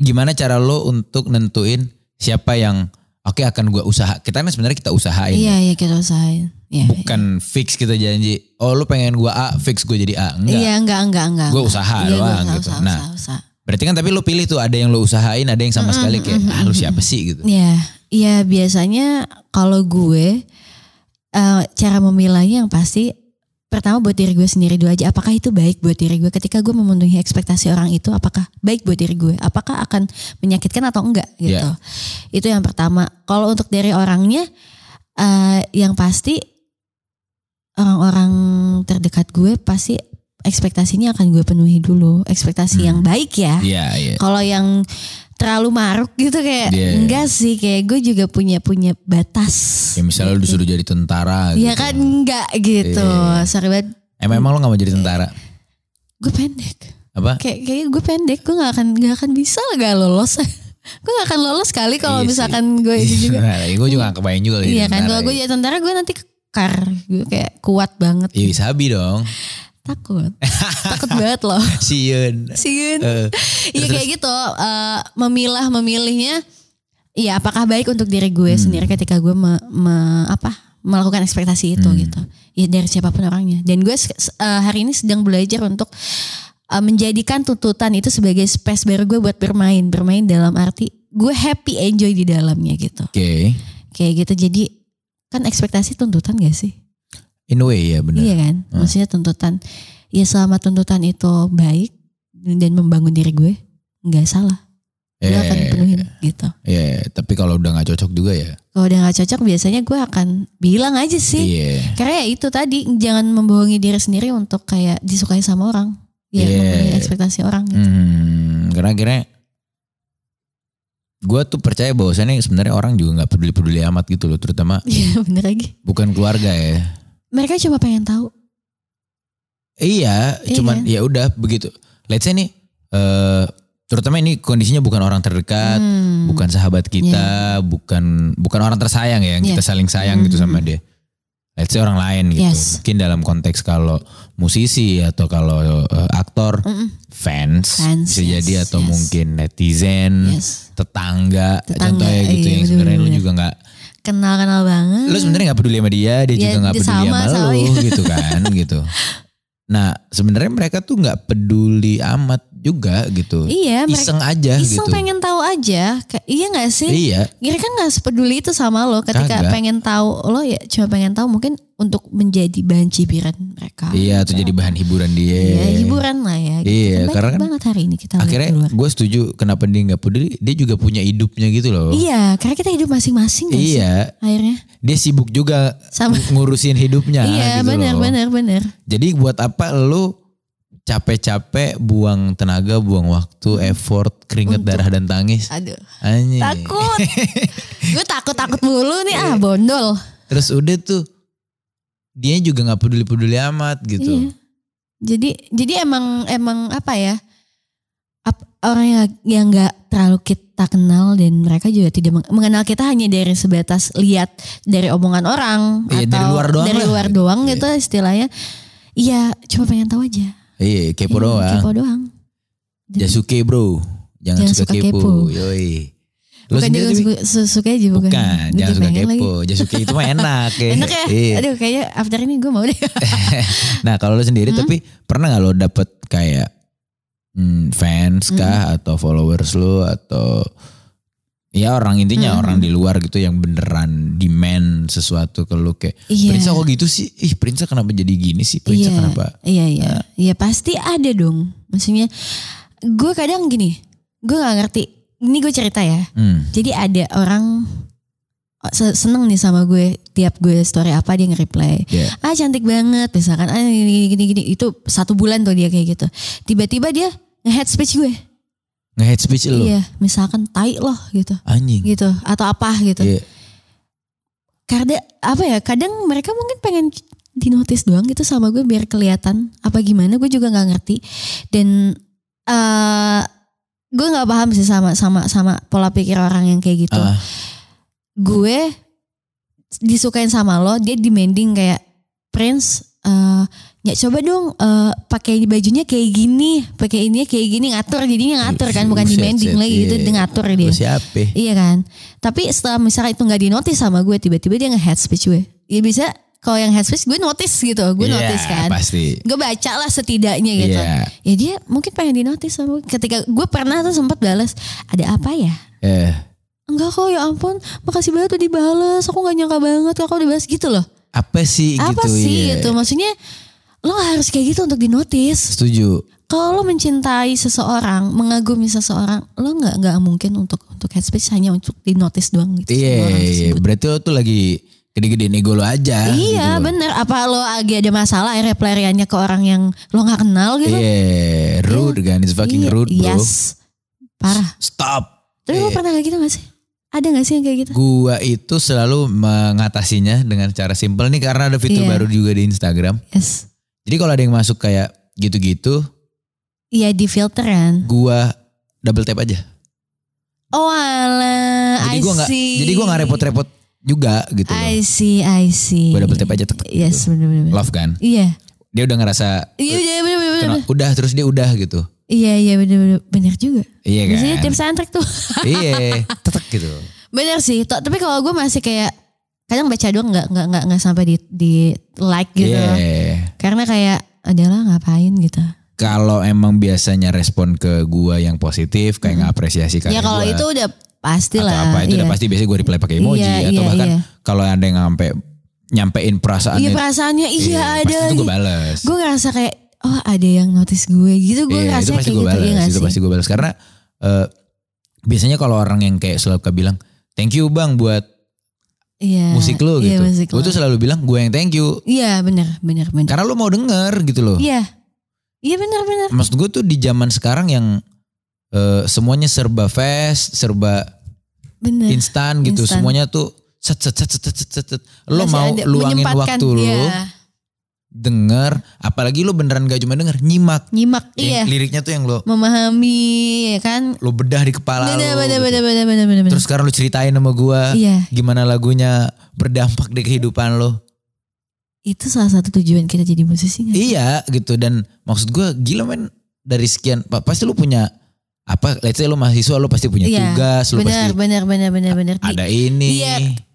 Speaker 1: gimana cara lo untuk nentuin siapa yang oke akan gua usaha. Kita kan sebenarnya kita usahain.
Speaker 2: Iya iya kita usahain. Iya.
Speaker 1: Bukan fix kita janji, oh lu pengen gua A, fix gue jadi A.
Speaker 2: Iya
Speaker 1: Enggak.
Speaker 2: Iya, enggak enggak enggak.
Speaker 1: Gua
Speaker 2: enggak.
Speaker 1: usaha
Speaker 2: Iya, gua
Speaker 1: doang
Speaker 2: usaha,
Speaker 1: gitu.
Speaker 2: Usaha,
Speaker 1: Nah.
Speaker 2: usaha, usaha.
Speaker 1: Berarti kan tapi lu pilih tuh ada yang lu usahain, ada yang sama sekali kayak ah lu siapa sih gitu.
Speaker 2: Iya. Iya biasanya kalau gue eh, cara memilahnya yang pasti pertama buat diri gue sendiri dulu aja apakah itu baik buat diri gue ketika gue memenuhi ekspektasi orang itu apakah baik buat diri gue apakah akan menyakitkan atau enggak gitu
Speaker 1: Iya.
Speaker 2: itu yang pertama kalau untuk dari orangnya eh, yang pasti orang-orang terdekat gue pasti ekspektasinya akan gue penuhi dulu ekspektasi
Speaker 1: Hmm.
Speaker 2: yang baik ya
Speaker 1: Iya, iya.
Speaker 2: kalau yang terlalu maruk gitu kayak
Speaker 1: Iya, iya.
Speaker 2: enggak sih kayak gue juga punya punya batas
Speaker 1: Ya misalnya lu disuruh jadi tentara gitu.
Speaker 2: Iya kan enggak gitu
Speaker 1: Iya.
Speaker 2: sorry banget
Speaker 1: Emang, emang lu gak mau jadi
Speaker 2: Iya.
Speaker 1: tentara?
Speaker 2: gue pendek
Speaker 1: Apa?
Speaker 2: kayak kayak gue pendek gue nggak akan nggak akan bisa lah gak lolos gue gak akan lolos kali kalau
Speaker 1: Iya sih. Iya,
Speaker 2: misalkan gue ini juga
Speaker 1: gue juga gak kebayang juga jadi
Speaker 2: iya kan
Speaker 1: tentara
Speaker 2: kalau gue
Speaker 1: ya.
Speaker 2: jadi tentara gue nanti kekar gue kayak kuat banget
Speaker 1: Iya, sabi dong.
Speaker 2: takut takut banget loh
Speaker 1: Siun.
Speaker 2: siun
Speaker 1: Eh,
Speaker 2: Iya kayak gitu eh, memilah memilihnya Iya apakah baik untuk diri gue sendiri ketika gue me- me- apa melakukan ekspektasi itu gitu ya dari siapapun orangnya dan gue se- se- eh, hari ini sedang belajar untuk eh, menjadikan tuntutan itu sebagai space baru gue buat bermain bermain dalam arti gue happy enjoy di dalamnya gitu
Speaker 1: Oke.
Speaker 2: kayak gitu jadi kan ekspektasi tuntutan gak sih
Speaker 1: In a way ya bener.
Speaker 2: Iya kan? Maksudnya tuntutan. Ya selama tuntutan itu baik dan membangun diri gue, nggak salah. Gue akan
Speaker 1: Eh,
Speaker 2: penuhin gitu.
Speaker 1: Iya, tapi kalau udah gak cocok juga ya.
Speaker 2: Kalau udah nggak cocok biasanya gue akan bilang aja sih.
Speaker 1: Iya.
Speaker 2: Karena ya itu tadi jangan membohongi diri sendiri untuk kayak disukai sama orang. Ya
Speaker 1: Iya.
Speaker 2: memenuhi ekspektasi orang gitu.
Speaker 1: Hmm, karena akhirnya gue tuh percaya bahwasannya sebenarnya orang juga nggak peduli-peduli amat gitu loh, terutama
Speaker 2: Iya bener lagi.
Speaker 1: bukan keluarga ya.
Speaker 2: Mereka cuma pengen tahu.
Speaker 1: Iya,
Speaker 2: Iya
Speaker 1: cuman
Speaker 2: kan?
Speaker 1: ya udah begitu. Let's say nih, eh, terutama ini kondisinya bukan orang terdekat,
Speaker 2: Hmm. Ya.
Speaker 1: bukan sahabat kita, bukan bukan orang tersayang ya, yang
Speaker 2: Iya.
Speaker 1: kita saling sayang gitu sama dia. Let's say orang lain gitu.
Speaker 2: Hmm. Yes.
Speaker 1: Mungkin dalam konteks kalau musisi atau kalau eh, aktor,
Speaker 2: Mm-mm.
Speaker 1: fans,
Speaker 2: Fans,
Speaker 1: bisa
Speaker 2: yes,
Speaker 1: jadi atau
Speaker 2: yes.
Speaker 1: mungkin netizen.
Speaker 2: Yes.
Speaker 1: tetangga,
Speaker 2: Tetangga,
Speaker 1: contohnya gitu
Speaker 2: iya,
Speaker 1: yang sebenarnya lu
Speaker 2: bener-bener.
Speaker 1: juga nggak
Speaker 2: Kenal-kenal banget.
Speaker 1: lu sebenarnya nggak peduli sama dia dia
Speaker 2: Ya,
Speaker 1: juga nggak
Speaker 2: dia
Speaker 1: peduli
Speaker 2: sama,
Speaker 1: sama,
Speaker 2: sama,
Speaker 1: lu
Speaker 2: iya.
Speaker 1: gitu kan gitu nah sebenarnya mereka tuh nggak peduli amat juga gitu.
Speaker 2: Iya, mereka-
Speaker 1: Iseng aja
Speaker 2: Iseng
Speaker 1: gitu.
Speaker 2: pengen tahu aja. Kayak, iya gak sih?
Speaker 1: Iya.
Speaker 2: Mereka kan nggak sepeduli itu sama lo
Speaker 1: Kagak.
Speaker 2: ketika pengen tahu lo ya cuma pengen tahu mungkin untuk menjadi bahan cibiran mereka.
Speaker 1: Iya, atau jadi bahan hiburan dia.
Speaker 2: Ya, hiburan lah ya.
Speaker 1: Iya,
Speaker 2: Banyak
Speaker 1: karena kan
Speaker 2: banget hari ini kita lihat
Speaker 1: Akhirnya gitu
Speaker 2: keluar.
Speaker 1: gue setuju kenapa dia nggak peduli. Dia juga punya hidupnya gitu loh.
Speaker 2: Iya, karena kita hidup masing-masing gak sih?
Speaker 1: Iya,
Speaker 2: Akhirnya.
Speaker 1: dia sibuk juga
Speaker 2: Sama.
Speaker 1: ng- ngurusin hidupnya
Speaker 2: iya,
Speaker 1: gitu
Speaker 2: benar
Speaker 1: loh.
Speaker 2: benar benar.
Speaker 1: Jadi buat apa lu capek-capek buang tenaga, buang
Speaker 2: Hmm.
Speaker 1: waktu, effort, keringet, darah dan tangis?
Speaker 2: Aduh,
Speaker 1: Anjing.
Speaker 2: takut. Gue takut-takut mulu nih
Speaker 1: Iya.
Speaker 2: ah bondol.
Speaker 1: Terus udah tuh dia juga nggak peduli-peduli amat
Speaker 2: Iya.
Speaker 1: gitu.
Speaker 2: Jadi jadi emang emang apa ya? Ap- orang yang yang nggak terlalu kita kenal dan mereka juga tidak meng- mengenal kita hanya dari sebatas lihat dari omongan orang
Speaker 1: Iya,
Speaker 2: atau
Speaker 1: dari luar doang
Speaker 2: dari
Speaker 1: lah.
Speaker 2: luar doang gitu istilahnya. Iya, cuma pengen tahu aja.
Speaker 1: Iya, kepo
Speaker 2: Iya,
Speaker 1: doang. Ya,
Speaker 2: Kepo doang.
Speaker 1: Jasuke bro, jangan,
Speaker 2: Jangan
Speaker 1: suka,
Speaker 2: suka
Speaker 1: kepo.
Speaker 2: kepo.
Speaker 1: Yoi. Lu
Speaker 2: Bukan
Speaker 1: sendiri
Speaker 2: juga
Speaker 1: tuh-
Speaker 2: suka, su- suka aja bukan.
Speaker 1: bukan,
Speaker 2: Dia
Speaker 1: jangan suka
Speaker 2: pengen lagi.
Speaker 1: kepo. Jasuke itu mah enak ya.
Speaker 2: Enak ya?
Speaker 1: Iya.
Speaker 2: Aduh kayaknya after ini gue mau deh.
Speaker 1: Nah kalau lo sendiri
Speaker 2: Hmm.
Speaker 1: tapi pernah nggak lo dapet kayak hmm, fans kah atau followers lo atau ya orang intinya
Speaker 2: Hmm.
Speaker 1: orang di luar gitu yang beneran demand sesuatu ke lo kayak
Speaker 2: Iya.
Speaker 1: Prinsa kok gitu sih? Ih Prinsa kenapa jadi gini sih? Prinsa
Speaker 2: Iya,
Speaker 1: kenapa?
Speaker 2: Iya iya,
Speaker 1: Ah.
Speaker 2: iya pasti ada dong. Maksudnya gue kadang gini, gue nggak ngerti. Ini gue cerita ya.
Speaker 1: Hmm.
Speaker 2: Jadi ada orang oh, se- seneng nih sama gue tiap gue story apa dia nge-reply.
Speaker 1: Iya.
Speaker 2: Ah cantik banget misalkan ah gini gini gini itu satu bulan tuh dia kayak gitu. Tiba-tiba dia nge-head speech gue.
Speaker 1: Nge-hate speech lo?
Speaker 2: Iya, misalkan tai loh gitu.
Speaker 1: Anjing.
Speaker 2: Gitu atau apa gitu.
Speaker 1: Iya.
Speaker 2: karena apa ya kadang mereka mungkin pengen dinotis doang gitu sama gue biar kelihatan apa gimana gue juga nggak ngerti dan eh gue nggak paham sih sama sama sama pola pikir orang yang kayak gitu
Speaker 1: Ah.
Speaker 2: gue disukain sama lo dia demanding kayak Prince eh ya coba dong eh, pakai bajunya kayak gini pakai ininya kayak gini ngatur jadinya ngatur kan bukan
Speaker 1: Buset,
Speaker 2: demanding
Speaker 1: set,
Speaker 2: lagi
Speaker 1: iya.
Speaker 2: gitu dia ngatur
Speaker 1: Lo
Speaker 2: dia
Speaker 1: siapa?
Speaker 2: Iya kan. Tapi setelah misalnya itu nggak dinotis sama gue, tiba-tiba dia nge-head speech gue. Ya bisa kalau yang head speech gue notice gitu, gue
Speaker 1: Iya,
Speaker 2: notice kan.
Speaker 1: pasti.
Speaker 2: Gue baca lah setidaknya gitu.
Speaker 1: Iya.
Speaker 2: Ya dia mungkin pengen dinotis sama gue. Ketika gue pernah tuh sempat balas, ada apa ya?
Speaker 1: Eh,
Speaker 2: Enggak kok ya ampun, makasih banget udah dibales. Aku nggak nyangka banget kakak udah balas gitu loh.
Speaker 1: apa sih
Speaker 2: apa
Speaker 1: gitu?
Speaker 2: sih
Speaker 1: iya.
Speaker 2: gitu? Maksudnya lo nggak harus kayak gitu untuk dinotis.
Speaker 1: Setuju.
Speaker 2: Kalau lo mencintai seseorang, mengagumi seseorang, lo nggak nggak mungkin untuk untuk head speech hanya untuk dinotis doang gitu. sama
Speaker 1: Iya,
Speaker 2: orang
Speaker 1: iya.
Speaker 2: tersebut.
Speaker 1: berarti lo tuh lagi gede-gedein ego lo aja.
Speaker 2: Iya
Speaker 1: gitu.
Speaker 2: bener Apa lo lagi ada masalah Akhirnya pelariannya ke orang yang Lo gak kenal gitu
Speaker 1: Iya, rude kan, it's fucking
Speaker 2: Iya,
Speaker 1: rude bro. Iya.
Speaker 2: Yes Parah
Speaker 1: Stop.
Speaker 2: Tapi lo pernah gak gitu gak sih? Ada gak sih yang kayak gitu?
Speaker 1: Gua itu selalu mengatasinya dengan cara simpel nih karena ada fitur
Speaker 2: Iya.
Speaker 1: baru juga di Instagram.
Speaker 2: Yes
Speaker 1: Jadi kalau ada yang masuk kayak gitu-gitu,
Speaker 2: Iya di filter kan
Speaker 1: gua double tap aja.
Speaker 2: Oh alah
Speaker 1: Jadi
Speaker 2: I
Speaker 1: gua nggak,
Speaker 2: see.
Speaker 1: jadi gua nggak repot-repot juga gitu. loh.
Speaker 2: I see I see
Speaker 1: Gua double tap aja. Tek,
Speaker 2: Yes bener bener bener.
Speaker 1: Love kan,
Speaker 2: Iya
Speaker 1: dia udah ngerasa
Speaker 2: Iya iya, bener bener bener,
Speaker 1: kena-
Speaker 2: bener.
Speaker 1: udah terus dia udah gitu.
Speaker 2: Iya iya bener bener Bener juga
Speaker 1: Iya kan?
Speaker 2: Biasanya tips and trick tuh
Speaker 1: Iya, tetek gitu.
Speaker 2: Bener sih, to- tapi kalau gue masih kayak kadang baca doang nggak nggak nggak nggak sampai di di like gitu,
Speaker 1: Iya.
Speaker 2: karena kayak adalah ngapain gitu.
Speaker 1: Kalau emang biasanya respon ke gua yang positif kayak ngapresiasi karya
Speaker 2: ya kalau
Speaker 1: gua,
Speaker 2: itu udah pasti
Speaker 1: atau
Speaker 2: lah.
Speaker 1: apa itu
Speaker 2: iya.
Speaker 1: udah pasti biasanya gue reply pakai emoji
Speaker 2: Iya,
Speaker 1: atau
Speaker 2: iya,
Speaker 1: bahkan
Speaker 2: iya.
Speaker 1: kalau ada yang nyampe nyampein
Speaker 2: Iya
Speaker 1: perasaannya
Speaker 2: perasaannya iya ada.
Speaker 1: pasti itu gue
Speaker 2: lagi.
Speaker 1: balas
Speaker 2: Gue ngerasa kayak oh ada yang notice gue gitu, gue
Speaker 1: Iya,
Speaker 2: ngerasa
Speaker 1: itu
Speaker 2: kayak
Speaker 1: pasti
Speaker 2: gitu
Speaker 1: gue balas
Speaker 2: iya nggak
Speaker 1: itu
Speaker 2: sih?
Speaker 1: pasti gue balas karena eh, biasanya kalau orang yang kayak selalu bilang thank you bang buat
Speaker 2: Iya.
Speaker 1: musik lu
Speaker 2: Iya
Speaker 1: gitu
Speaker 2: musik
Speaker 1: gue
Speaker 2: lu.
Speaker 1: tuh selalu bilang gue yang thank you
Speaker 2: Iya benar benar benar.
Speaker 1: karena lu mau denger gitu loh
Speaker 2: Iya iya benar benar.
Speaker 1: maksud gue tuh di zaman sekarang yang eh, semuanya serba fast serba
Speaker 2: Benar.
Speaker 1: instan gitu
Speaker 2: Eh, Instan.
Speaker 1: semuanya tuh set set set set set set, set. lo
Speaker 2: Masih
Speaker 1: mau
Speaker 2: ada-
Speaker 1: luangin
Speaker 2: menyempatkan,
Speaker 1: waktu lu
Speaker 2: iya.
Speaker 1: denger apalagi lu beneran gak cuma denger nyimak
Speaker 2: nyimak iya
Speaker 1: Yang liriknya tuh yang lo
Speaker 2: memahami ya kan.
Speaker 1: lo bedah di kepala lo
Speaker 2: Benar benar benar benar benar benar.
Speaker 1: gitu. terus eh. sekarang lu ceritain sama gua
Speaker 2: Iya,
Speaker 1: gimana lagunya berdampak di kehidupan lo
Speaker 2: itu salah satu tujuan kita jadi musisi nggak?
Speaker 1: iya gitu dan maksud gua gila men dari sekian pa- pasti lu punya apa let's say lu mahasiswa lu pasti punya
Speaker 2: Iya,
Speaker 1: tugas lu
Speaker 2: Benar,
Speaker 1: pasti
Speaker 2: benar, benar, benar, benar. Di-
Speaker 1: ada ini
Speaker 2: Iya,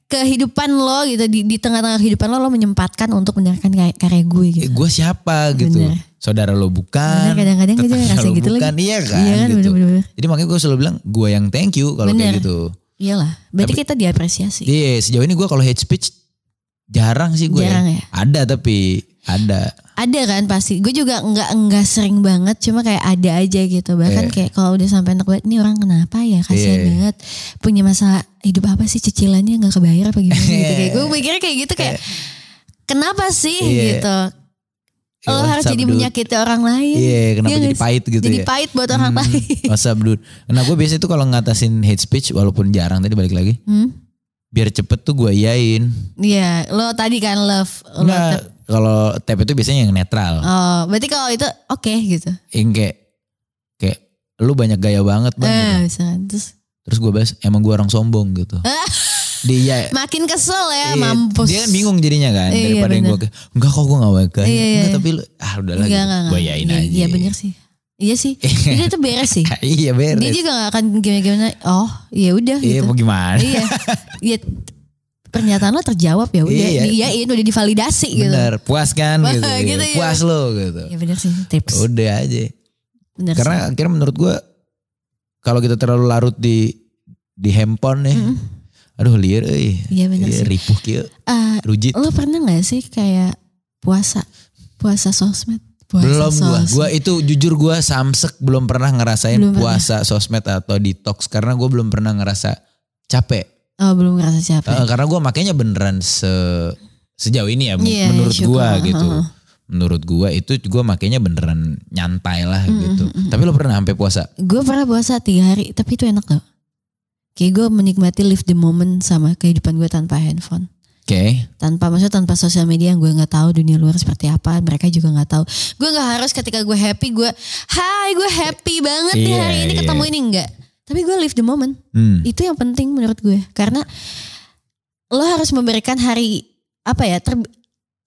Speaker 2: kehidupan lo gitu di di tengah-tengah kehidupan lo lo menyempatkan untuk mendengarkan karya, karya gue
Speaker 1: Eh,
Speaker 2: gitu.
Speaker 1: gua siapa gitu
Speaker 2: Benar.
Speaker 1: saudara lo bukan.
Speaker 3: Bener,
Speaker 2: Eh,
Speaker 3: kadang-kadang gue juga
Speaker 2: ya,
Speaker 1: tetangga
Speaker 3: ngerasa
Speaker 1: lo
Speaker 3: gitu lagi.
Speaker 1: bukan. Iya kan,
Speaker 3: Iya kan,
Speaker 1: gitu.
Speaker 3: bener-bener.
Speaker 1: Jadi makanya gue selalu bilang gue yang thank you kalau kayak
Speaker 2: Bener.
Speaker 1: gitu.
Speaker 2: Iyalah, berarti kita diapresiasi.
Speaker 1: Iya sejauh ini gue kalau hate speech jarang sih gue.
Speaker 2: Jarang ya?
Speaker 1: Ada tapi ada.
Speaker 2: Ada kan pasti. Gue juga nggak nggak sering banget, cuma kayak ada aja gitu. Bahkan
Speaker 1: Iya.
Speaker 2: kayak kalau udah sampai enak banget, ini orang kenapa ya?
Speaker 1: Iya.
Speaker 2: Kasihan banget. Punya masalah hidup apa sih cicilannya nggak kebayar apa gimana gitu.
Speaker 1: Iya.
Speaker 2: Kayak gue mikirnya kayak gitu kayak kenapa sih
Speaker 1: Iya.
Speaker 2: gitu? Lo
Speaker 1: Eh,
Speaker 2: Oh, harus
Speaker 1: WhatsApp,
Speaker 2: jadi
Speaker 1: dude.
Speaker 2: menyakiti orang lain.
Speaker 1: Iya kenapa
Speaker 2: Iya
Speaker 1: jadi
Speaker 2: nggak sih?
Speaker 1: pahit gitu
Speaker 2: jadi
Speaker 1: ya.
Speaker 2: pahit buat orang
Speaker 1: Hmm,
Speaker 2: lain.
Speaker 1: WhatsApp dude. Nah gue biasanya tuh kalau ngatasin hate speech walaupun jarang tadi balik lagi.
Speaker 2: Hmm?
Speaker 1: Biar cepet tuh gue iyain.
Speaker 2: Iya, lo tadi kan love. Lo tap-
Speaker 1: Enggak kalau tap itu biasanya yang netral.
Speaker 2: Oh, berarti kalau itu oke gitu.
Speaker 1: Yang kayak kayak lu banyak gaya banget
Speaker 2: Eh,
Speaker 1: bang. gitu.
Speaker 2: misalkan. Terus
Speaker 1: Terus gue bahas emang gue orang sombong gitu. Dia
Speaker 2: makin kesel ya,
Speaker 1: Iya,
Speaker 2: mampus.
Speaker 1: Dia kan bingung jadinya kan
Speaker 2: Iya,
Speaker 1: daripada yang
Speaker 2: bener.
Speaker 1: gue enggak kok gue gak wanka.
Speaker 2: Iya, iya,
Speaker 1: Enggak
Speaker 2: iya.
Speaker 1: tapi lu ah udahlah
Speaker 2: Enggak,
Speaker 1: gitu.
Speaker 2: enggak, enggak.
Speaker 1: Gue yain
Speaker 2: Iya,
Speaker 1: aja.
Speaker 2: Iya bener sih. Iya sih. Jadi itu beres sih.
Speaker 1: iya beres.
Speaker 2: Dia juga gak akan gimana-gimana. Oh, ya udah
Speaker 1: Iya
Speaker 2: gitu.
Speaker 1: mau gimana?
Speaker 2: Iya. Iya. Pernyataan lo terjawab ya udah.
Speaker 1: Iya.
Speaker 2: Diiyain udah divalidasi gitu.
Speaker 1: Bener, puas kan
Speaker 2: Wah,
Speaker 1: gitu.
Speaker 2: gitu
Speaker 1: iya.
Speaker 2: ya.
Speaker 1: Puas lo gitu.
Speaker 2: Ya bener sih tips.
Speaker 1: Udah aja.
Speaker 2: Bener
Speaker 1: Karena
Speaker 2: sih.
Speaker 1: akhirnya menurut gue kalau kita terlalu larut di di handphone nih.
Speaker 2: Mm-mm.
Speaker 1: Aduh liar euy.
Speaker 2: Iya bener
Speaker 1: Iya,
Speaker 2: sih.
Speaker 1: ripuh kieu,
Speaker 2: Eh,
Speaker 1: rujit.
Speaker 2: lo pernah gak sih kayak puasa? Puasa sosmed? Puasa
Speaker 1: Belum gua.
Speaker 2: sosmed.
Speaker 1: Gua itu jujur gua samsek belum pernah ngerasain
Speaker 2: Belum pernah.
Speaker 1: puasa sosmed atau detox karena gua belum pernah ngerasa capek.
Speaker 2: Oh, belum ngerasa capek.
Speaker 1: Eh, karena gua makanya beneran se sejauh ini ya men-
Speaker 2: Iya,
Speaker 1: menurut
Speaker 2: syukur.
Speaker 1: gua gitu.
Speaker 2: Heeh.
Speaker 1: Menurut gua itu gua makanya beneran nyantai lah
Speaker 2: Mm,
Speaker 1: gitu.
Speaker 2: mm, mm, mm.
Speaker 1: Tapi lo pernah sampai puasa?
Speaker 2: Gue pernah puasa tiga hari, tapi itu enak loh. Kayak gue menikmati live the moment sama kehidupan gue tanpa handphone.
Speaker 1: Oke.
Speaker 2: Tanpa maksudnya tanpa sosial media yang gue nggak tahu dunia luar seperti apa, mereka juga nggak tahu. Gue nggak harus ketika gue happy gue, hai gue happy banget nih
Speaker 1: Iya,
Speaker 2: hari ini
Speaker 1: iya.
Speaker 2: ketemu ini enggak. Tapi gue live the moment.
Speaker 1: Hmm.
Speaker 2: Itu yang penting menurut gue karena lo harus memberikan hari apa ya? ter-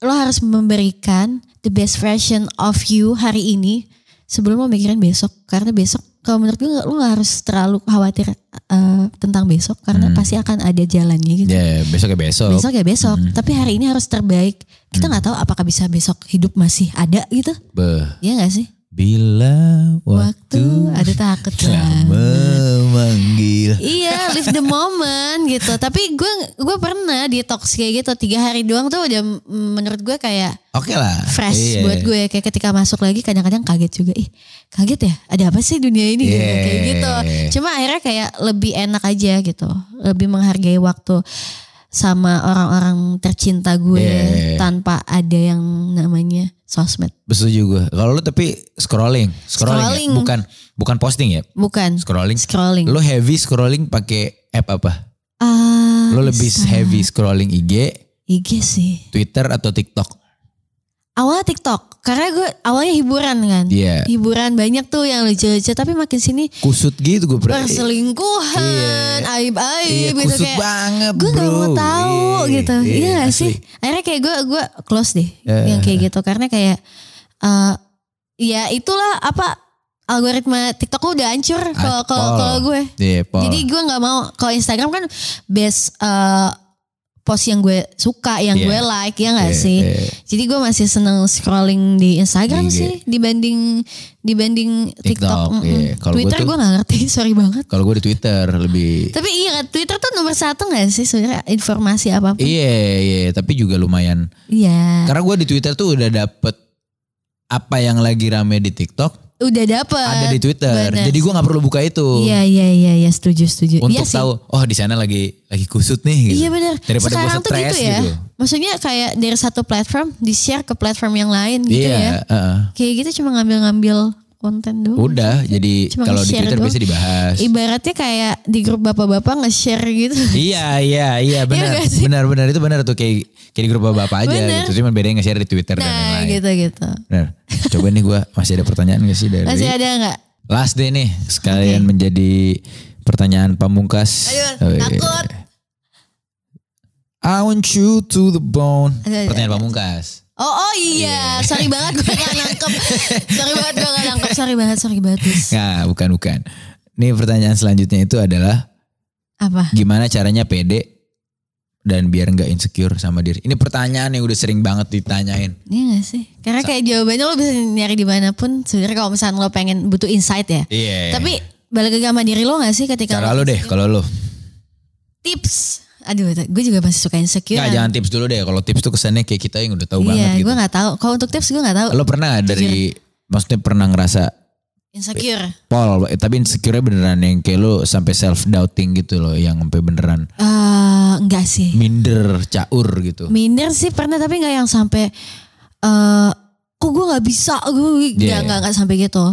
Speaker 2: lo harus memberikan the best version of you hari ini sebelum lo mikirin besok karena besok kalau menurut gue lo gak harus terlalu khawatir eh, tentang besok karena
Speaker 1: Hmm.
Speaker 2: pasti akan ada jalannya gitu.
Speaker 1: Ya, besok ya besok.
Speaker 2: Besok ya besok,
Speaker 1: Hmm.
Speaker 2: tapi hari ini harus terbaik. Kita nggak tahu apakah bisa besok hidup masih ada gitu,
Speaker 1: Beh.
Speaker 2: ya nggak sih?
Speaker 1: Bila
Speaker 2: Waktu,
Speaker 1: waktu,
Speaker 2: ada takut
Speaker 1: telah
Speaker 2: lah.
Speaker 1: memanggil.
Speaker 2: Iya, live the moment gitu. Tapi gue gue pernah detox kayak gitu tiga hari doang tuh udah mm, menurut gue kayak
Speaker 1: Oke lah.
Speaker 2: fresh
Speaker 1: Iya.
Speaker 2: buat gue kayak ketika masuk lagi kadang-kadang kaget juga ih kaget ya ada apa sih dunia ini gitu
Speaker 1: Yeah.
Speaker 2: kayak gitu cuma akhirnya kayak lebih enak aja gitu lebih menghargai waktu sama orang-orang tercinta gue
Speaker 1: Yeah.
Speaker 2: tanpa ada yang namanya sosmed
Speaker 1: Setuju gue. Kalau lu tapi scrolling, scrolling, ya?
Speaker 2: Scrolling.
Speaker 1: bukan bukan posting ya,
Speaker 2: bukan
Speaker 1: scrolling.
Speaker 2: scrolling
Speaker 1: Lu heavy scrolling pakai app apa?
Speaker 2: Ah,
Speaker 1: Lu lebih
Speaker 2: Insta.
Speaker 1: heavy scrolling IG,
Speaker 2: IG sih
Speaker 1: Twitter atau TikTok?
Speaker 2: awalnya TikTok karena gue awalnya hiburan kan
Speaker 1: Iya.
Speaker 2: hiburan banyak tuh yang lucu-lucu tapi makin sini
Speaker 1: Kusut gitu gue berarti.
Speaker 2: perselingkuhan
Speaker 1: Iya,
Speaker 2: aib-aib gitu
Speaker 1: kusut
Speaker 2: kayak
Speaker 1: banget,
Speaker 2: gue
Speaker 1: bro.
Speaker 2: gak mau tahu
Speaker 1: Iya,
Speaker 2: gitu
Speaker 1: iya,
Speaker 2: iya
Speaker 1: asli.
Speaker 2: gak sih akhirnya kayak gue gue close deh
Speaker 1: Eh.
Speaker 2: yang kayak gitu karena kayak eh ya itulah apa algoritma TikTok lu udah hancur
Speaker 1: Ah,
Speaker 2: kalau kalau
Speaker 1: Pol.
Speaker 2: kalau gue
Speaker 1: Iya, Pol.
Speaker 2: jadi gue nggak mau kalau Instagram kan base eh post yang gue suka yang
Speaker 1: Iya.
Speaker 2: gue like ya gak
Speaker 1: Iya,
Speaker 2: sih
Speaker 1: iya.
Speaker 2: jadi gue masih seneng scrolling di
Speaker 1: Di
Speaker 2: Instagram
Speaker 1: IG.
Speaker 2: sih dibanding dibanding
Speaker 1: TikTok,
Speaker 2: TikTok. mm-mm.
Speaker 1: iya. Kalau gua
Speaker 2: Twitter
Speaker 1: tuh-
Speaker 2: gue gak ngerti, sorry banget.
Speaker 1: Kalau gue di Twitter lebih
Speaker 2: Tapi iya Twitter tuh nomor satu gak sih sebenarnya informasi apapun.
Speaker 1: Iya, iya, tapi juga lumayan
Speaker 2: Iya,
Speaker 1: Karena gue di Twitter tuh udah dapet apa yang lagi rame di TikTok
Speaker 2: udah dapet.
Speaker 1: ada di Twitter.
Speaker 2: Eh, bener.
Speaker 1: Jadi gue nggak perlu buka itu
Speaker 2: Iya iya iya iya setuju setuju.
Speaker 1: untuk
Speaker 2: iya sih.
Speaker 1: tahu oh di sana lagi lagi kusut nih. Gitu.
Speaker 2: Iya benar.
Speaker 1: Daripada gue
Speaker 2: Sekarang tuh
Speaker 1: stres
Speaker 2: gitu ya.
Speaker 1: gitu.
Speaker 2: Maksudnya kayak dari satu platform di share ke platform yang lain gitu
Speaker 1: Iya,
Speaker 2: ya.
Speaker 1: heeh.
Speaker 2: Kayak gitu cuma ngambil-ngambil konten doang.
Speaker 1: udah. Jadi
Speaker 2: Cuma
Speaker 1: kalau di
Speaker 2: nge-share
Speaker 1: Twitter
Speaker 2: doang.
Speaker 1: bisa dibahas.
Speaker 2: Ibaratnya kayak di grup bapak-bapak nge-share gitu.
Speaker 1: iya iya iya benar
Speaker 2: nggak sih?
Speaker 1: benar benar itu benar tuh kayak kayak di grup bapak aja
Speaker 2: Bener.
Speaker 1: gitu. Cuman bedanya nge-share di Twitter dan
Speaker 2: Nah
Speaker 1: lain-lain.
Speaker 2: gitu-gitu.
Speaker 1: Benar. Coba nih gue masih ada pertanyaan gak sih dari
Speaker 2: Masih ada nggak?
Speaker 1: Last day nih sekalian menjadi pertanyaan pamungkas.
Speaker 2: Ayo,
Speaker 1: Wih.
Speaker 2: takut.
Speaker 1: I want you to the bone.
Speaker 2: Aduh, aduh,
Speaker 1: Pertanyaan pamungkas.
Speaker 2: Oh, oh iya, sorry banget gue gak nangkep. sorry banget gue gak nangkep, sorry banget, sorry banget. Gus.
Speaker 1: Nah, bukan bukan. Nih pertanyaan selanjutnya itu adalah
Speaker 2: Apa?
Speaker 1: gimana caranya pede dan biar nggak insecure sama diri. Ini pertanyaan yang udah sering banget ditanyain.
Speaker 2: Iya gak sih? Karena kayak jawabannya lo bisa nyari dimanapun. Sebenarnya kalau misalnya lo pengen butuh insight ya.
Speaker 1: Iya.
Speaker 2: Tapi balik lagi sama diri lo gak sih ketika
Speaker 1: Cara lo
Speaker 2: lo
Speaker 1: deh kalau lo.
Speaker 2: tips. Aduh gue juga masih suka insecure.
Speaker 1: Nggak, jangan tips dulu deh. Kalau tips tuh kesannya kayak kita yang udah tahu banget
Speaker 2: Iya
Speaker 1: gitu.
Speaker 2: gue gak tahu. Kalau untuk tips gue gak tahu.
Speaker 1: Lo pernah nggak dari maksudnya pernah ngerasa
Speaker 2: Insecure.
Speaker 1: Paul, eh, tapi insecure beneran yang kayak lo sampai self doubting gitu loh, yang sampai beneran
Speaker 2: Eh enggak sih.
Speaker 1: minder, caur gitu.
Speaker 2: Minder sih pernah tapi nggak yang sampai eh kok gue nggak bisa gue nggak
Speaker 1: Iya, iya.
Speaker 2: nggak nggak sampai gitu.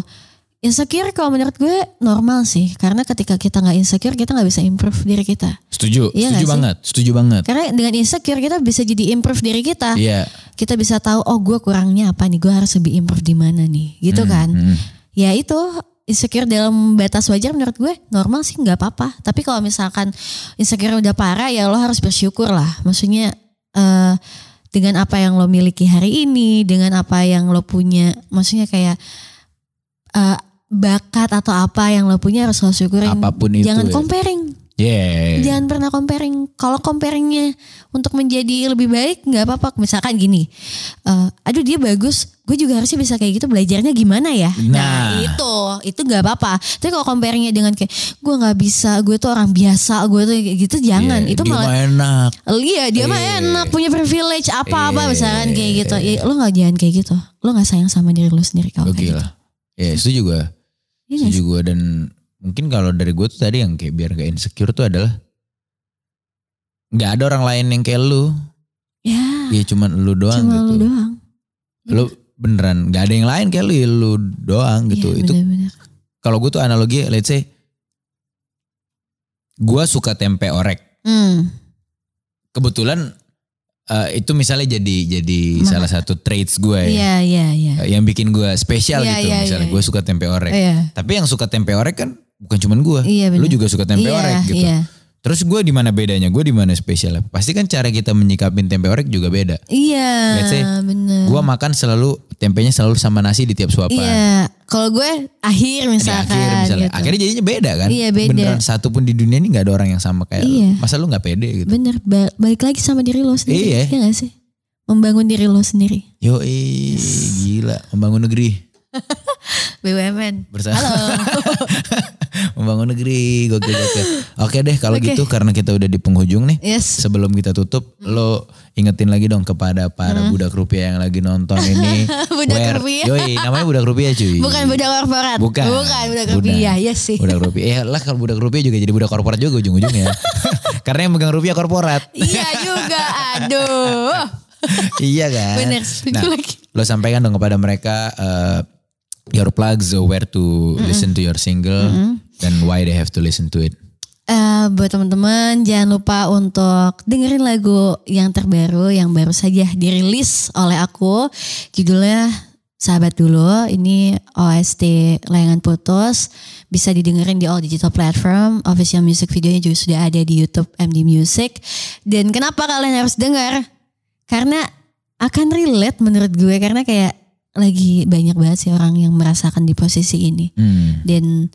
Speaker 2: Insecure kalau menurut gue normal sih karena ketika kita nggak insecure kita nggak bisa improve diri kita.
Speaker 1: Setuju,
Speaker 2: Iya nggak
Speaker 1: setuju
Speaker 2: sih?
Speaker 1: banget, setuju banget.
Speaker 2: Karena dengan insecure kita bisa jadi improve diri kita.
Speaker 1: Iya.
Speaker 2: Kita bisa tahu oh gue kurangnya apa nih gue harus lebih improve di mana nih gitu kan.
Speaker 1: Hmm.
Speaker 2: Ya itu insecure dalam batas wajar menurut gue normal sih nggak apa-apa. Tapi kalau misalkan insecure udah parah ya lo harus bersyukur lah. Maksudnya eh, dengan apa yang lo miliki hari ini, dengan apa yang lo punya, maksudnya kayak eh, bakat atau apa yang lo punya harus lo syukurin.
Speaker 1: Apapun itu Iya.
Speaker 2: Jangan
Speaker 1: ya.
Speaker 2: comparing,
Speaker 1: Yeah.
Speaker 2: jangan pernah comparing. Kalau comparingnya untuk menjadi lebih baik nggak apa-apa. Misalkan gini, eh, aduh dia bagus, gue juga harusnya bisa kayak gitu. Belajarnya gimana ya?
Speaker 1: Nah.
Speaker 2: itu, itu nggak apa-apa. Tapi kalau comparingnya dengan kayak gue nggak bisa, gue tuh orang biasa, gue tuh kayak gitu, jangan.
Speaker 1: Iya,
Speaker 2: itu
Speaker 1: dia
Speaker 2: malah
Speaker 1: mah enak.
Speaker 2: Iya dia mah
Speaker 1: Iya.
Speaker 2: enak punya privilege
Speaker 1: Iya.
Speaker 2: apa-apa misalkan kayak gitu. Ya, lo gak jangan kayak gitu. Lo gak sayang sama diri lo sendiri kalau
Speaker 1: Oke
Speaker 2: kayak gitu.
Speaker 1: lah. Ya setuju gue.
Speaker 2: Iya gak
Speaker 1: Setuju
Speaker 2: sih?
Speaker 1: gue dan mungkin kalau dari gue tuh tadi yang kayak biar gak insecure tuh adalah nggak ada orang lain yang kayak lu.
Speaker 2: Ya
Speaker 1: Ya cuman lu doang
Speaker 2: cuma
Speaker 1: gitu.
Speaker 2: lo doang.
Speaker 1: Lu beneran nggak ada yang lain kayak lu, ya lu doang gitu.
Speaker 2: Iya,
Speaker 1: Itu
Speaker 2: bener-bener.
Speaker 1: kalau gue tuh analogi let's say gue suka tempe orek.
Speaker 2: Hmm.
Speaker 1: Kebetulan eh, itu misalnya jadi jadi
Speaker 2: Maka-
Speaker 1: salah satu traits gue ya.
Speaker 2: Iya iya iya.
Speaker 1: Eh, yang bikin gue spesial
Speaker 2: Iya,
Speaker 1: gitu
Speaker 2: iya,
Speaker 1: misalnya
Speaker 2: iya,
Speaker 1: gue suka tempe orek
Speaker 2: Iya
Speaker 1: tapi yang suka tempe orek kan bukan cuman gue
Speaker 2: iya
Speaker 1: lu
Speaker 2: bener.
Speaker 1: juga suka tempe
Speaker 2: Iya,
Speaker 1: orek gitu
Speaker 2: Iya
Speaker 1: terus gue di mana bedanya gue di mana spesial pasti kan cara kita menyikapin tempe orek juga beda
Speaker 2: iya
Speaker 1: Let's say,
Speaker 2: bener.
Speaker 1: gue makan selalu tempenya selalu sama nasi di tiap suapan
Speaker 2: Iya kalau gue akhir
Speaker 1: Di
Speaker 2: misalkan.
Speaker 1: Iya, akhir misalnya
Speaker 2: gitu.
Speaker 1: akhirnya jadinya beda kan
Speaker 2: Iya, beda.
Speaker 1: beneran satu pun di dunia ini nggak ada orang yang sama kayak
Speaker 2: Iya.
Speaker 1: lu masa lu nggak pede gitu
Speaker 2: Bener ba- balik lagi sama diri lo sendiri.
Speaker 1: Iya.
Speaker 2: Iya gak sih? Membangun diri lo sendiri.
Speaker 1: yo gila membangun negeri
Speaker 2: BUMN.
Speaker 1: bersama membangun negeri gokil gokil oke deh kalau
Speaker 2: Oke.
Speaker 1: gitu karena kita udah di penghujung nih
Speaker 2: Yes.
Speaker 1: sebelum kita tutup lo ingetin lagi dong kepada para budak rupiah yang lagi nonton ini
Speaker 2: Hmm. Budak rupiah.
Speaker 1: yoi namanya budak rupiah cuy
Speaker 2: Bukan budak korporat.
Speaker 1: bukan
Speaker 2: Bukan budak rupiah. Iya sih.
Speaker 1: budak rupiah ya lah kalau budak rupiah juga jadi budak korporat juga ujung-ujungnya karena yang megang rupiah korporat
Speaker 2: Iya juga. Aduh.
Speaker 1: iya kan
Speaker 2: Bener, setuju lagi.
Speaker 1: lo sampaikan dong kepada mereka eh, your plugs where to listen to your single dan why they have to listen to it
Speaker 2: Eh, buat teman-teman jangan lupa untuk dengerin lagu yang terbaru yang baru saja dirilis oleh aku. Judulnya Sahabat Dulu. Ini OST Layangan Putus. Bisa didengerin di all digital platform. Official music videonya juga sudah ada di YouTube MD Music. Dan kenapa kalian harus dengar? Karena akan relate menurut gue karena kayak lagi banyak banget sih orang yang merasakan di posisi ini
Speaker 1: Hmm.
Speaker 2: dan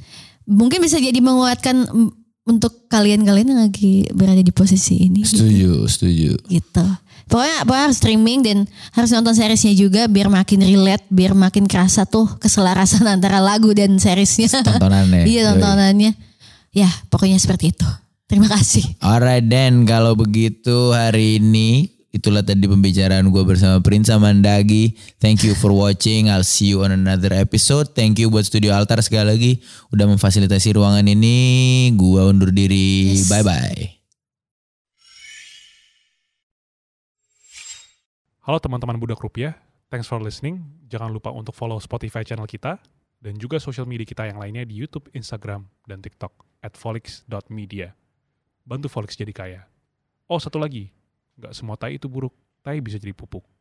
Speaker 2: mungkin bisa jadi menguatkan mm, untuk kalian-kalian yang lagi berada di posisi ini
Speaker 1: setuju setuju
Speaker 2: gitu. Pokoknya, pokoknya harus streaming dan harus nonton seriesnya juga biar makin relate, biar makin kerasa tuh keselarasan antara lagu dan seriesnya.
Speaker 1: tontonannya
Speaker 2: iya
Speaker 1: Yoi.
Speaker 2: tontonannya. Ya pokoknya seperti itu. Terima kasih.
Speaker 1: Alright then kalau begitu hari ini itulah tadi pembicaraan gue bersama Prinsa Mandagi. Thank you for watching. I'll see you on another episode. Thank you buat Studio Altar sekali lagi udah memfasilitasi ruangan ini. Gua undur diri.
Speaker 2: Yes.
Speaker 1: Bye bye.
Speaker 3: Halo teman-teman Budak Rupiah, thanks for listening. Jangan lupa untuk follow Spotify channel kita dan juga social media kita yang lainnya di YouTube, Instagram, dan TikTok at folix.media. Bantu Folix jadi kaya. Oh, satu lagi, nggak semua tai itu buruk, tai bisa jadi pupuk.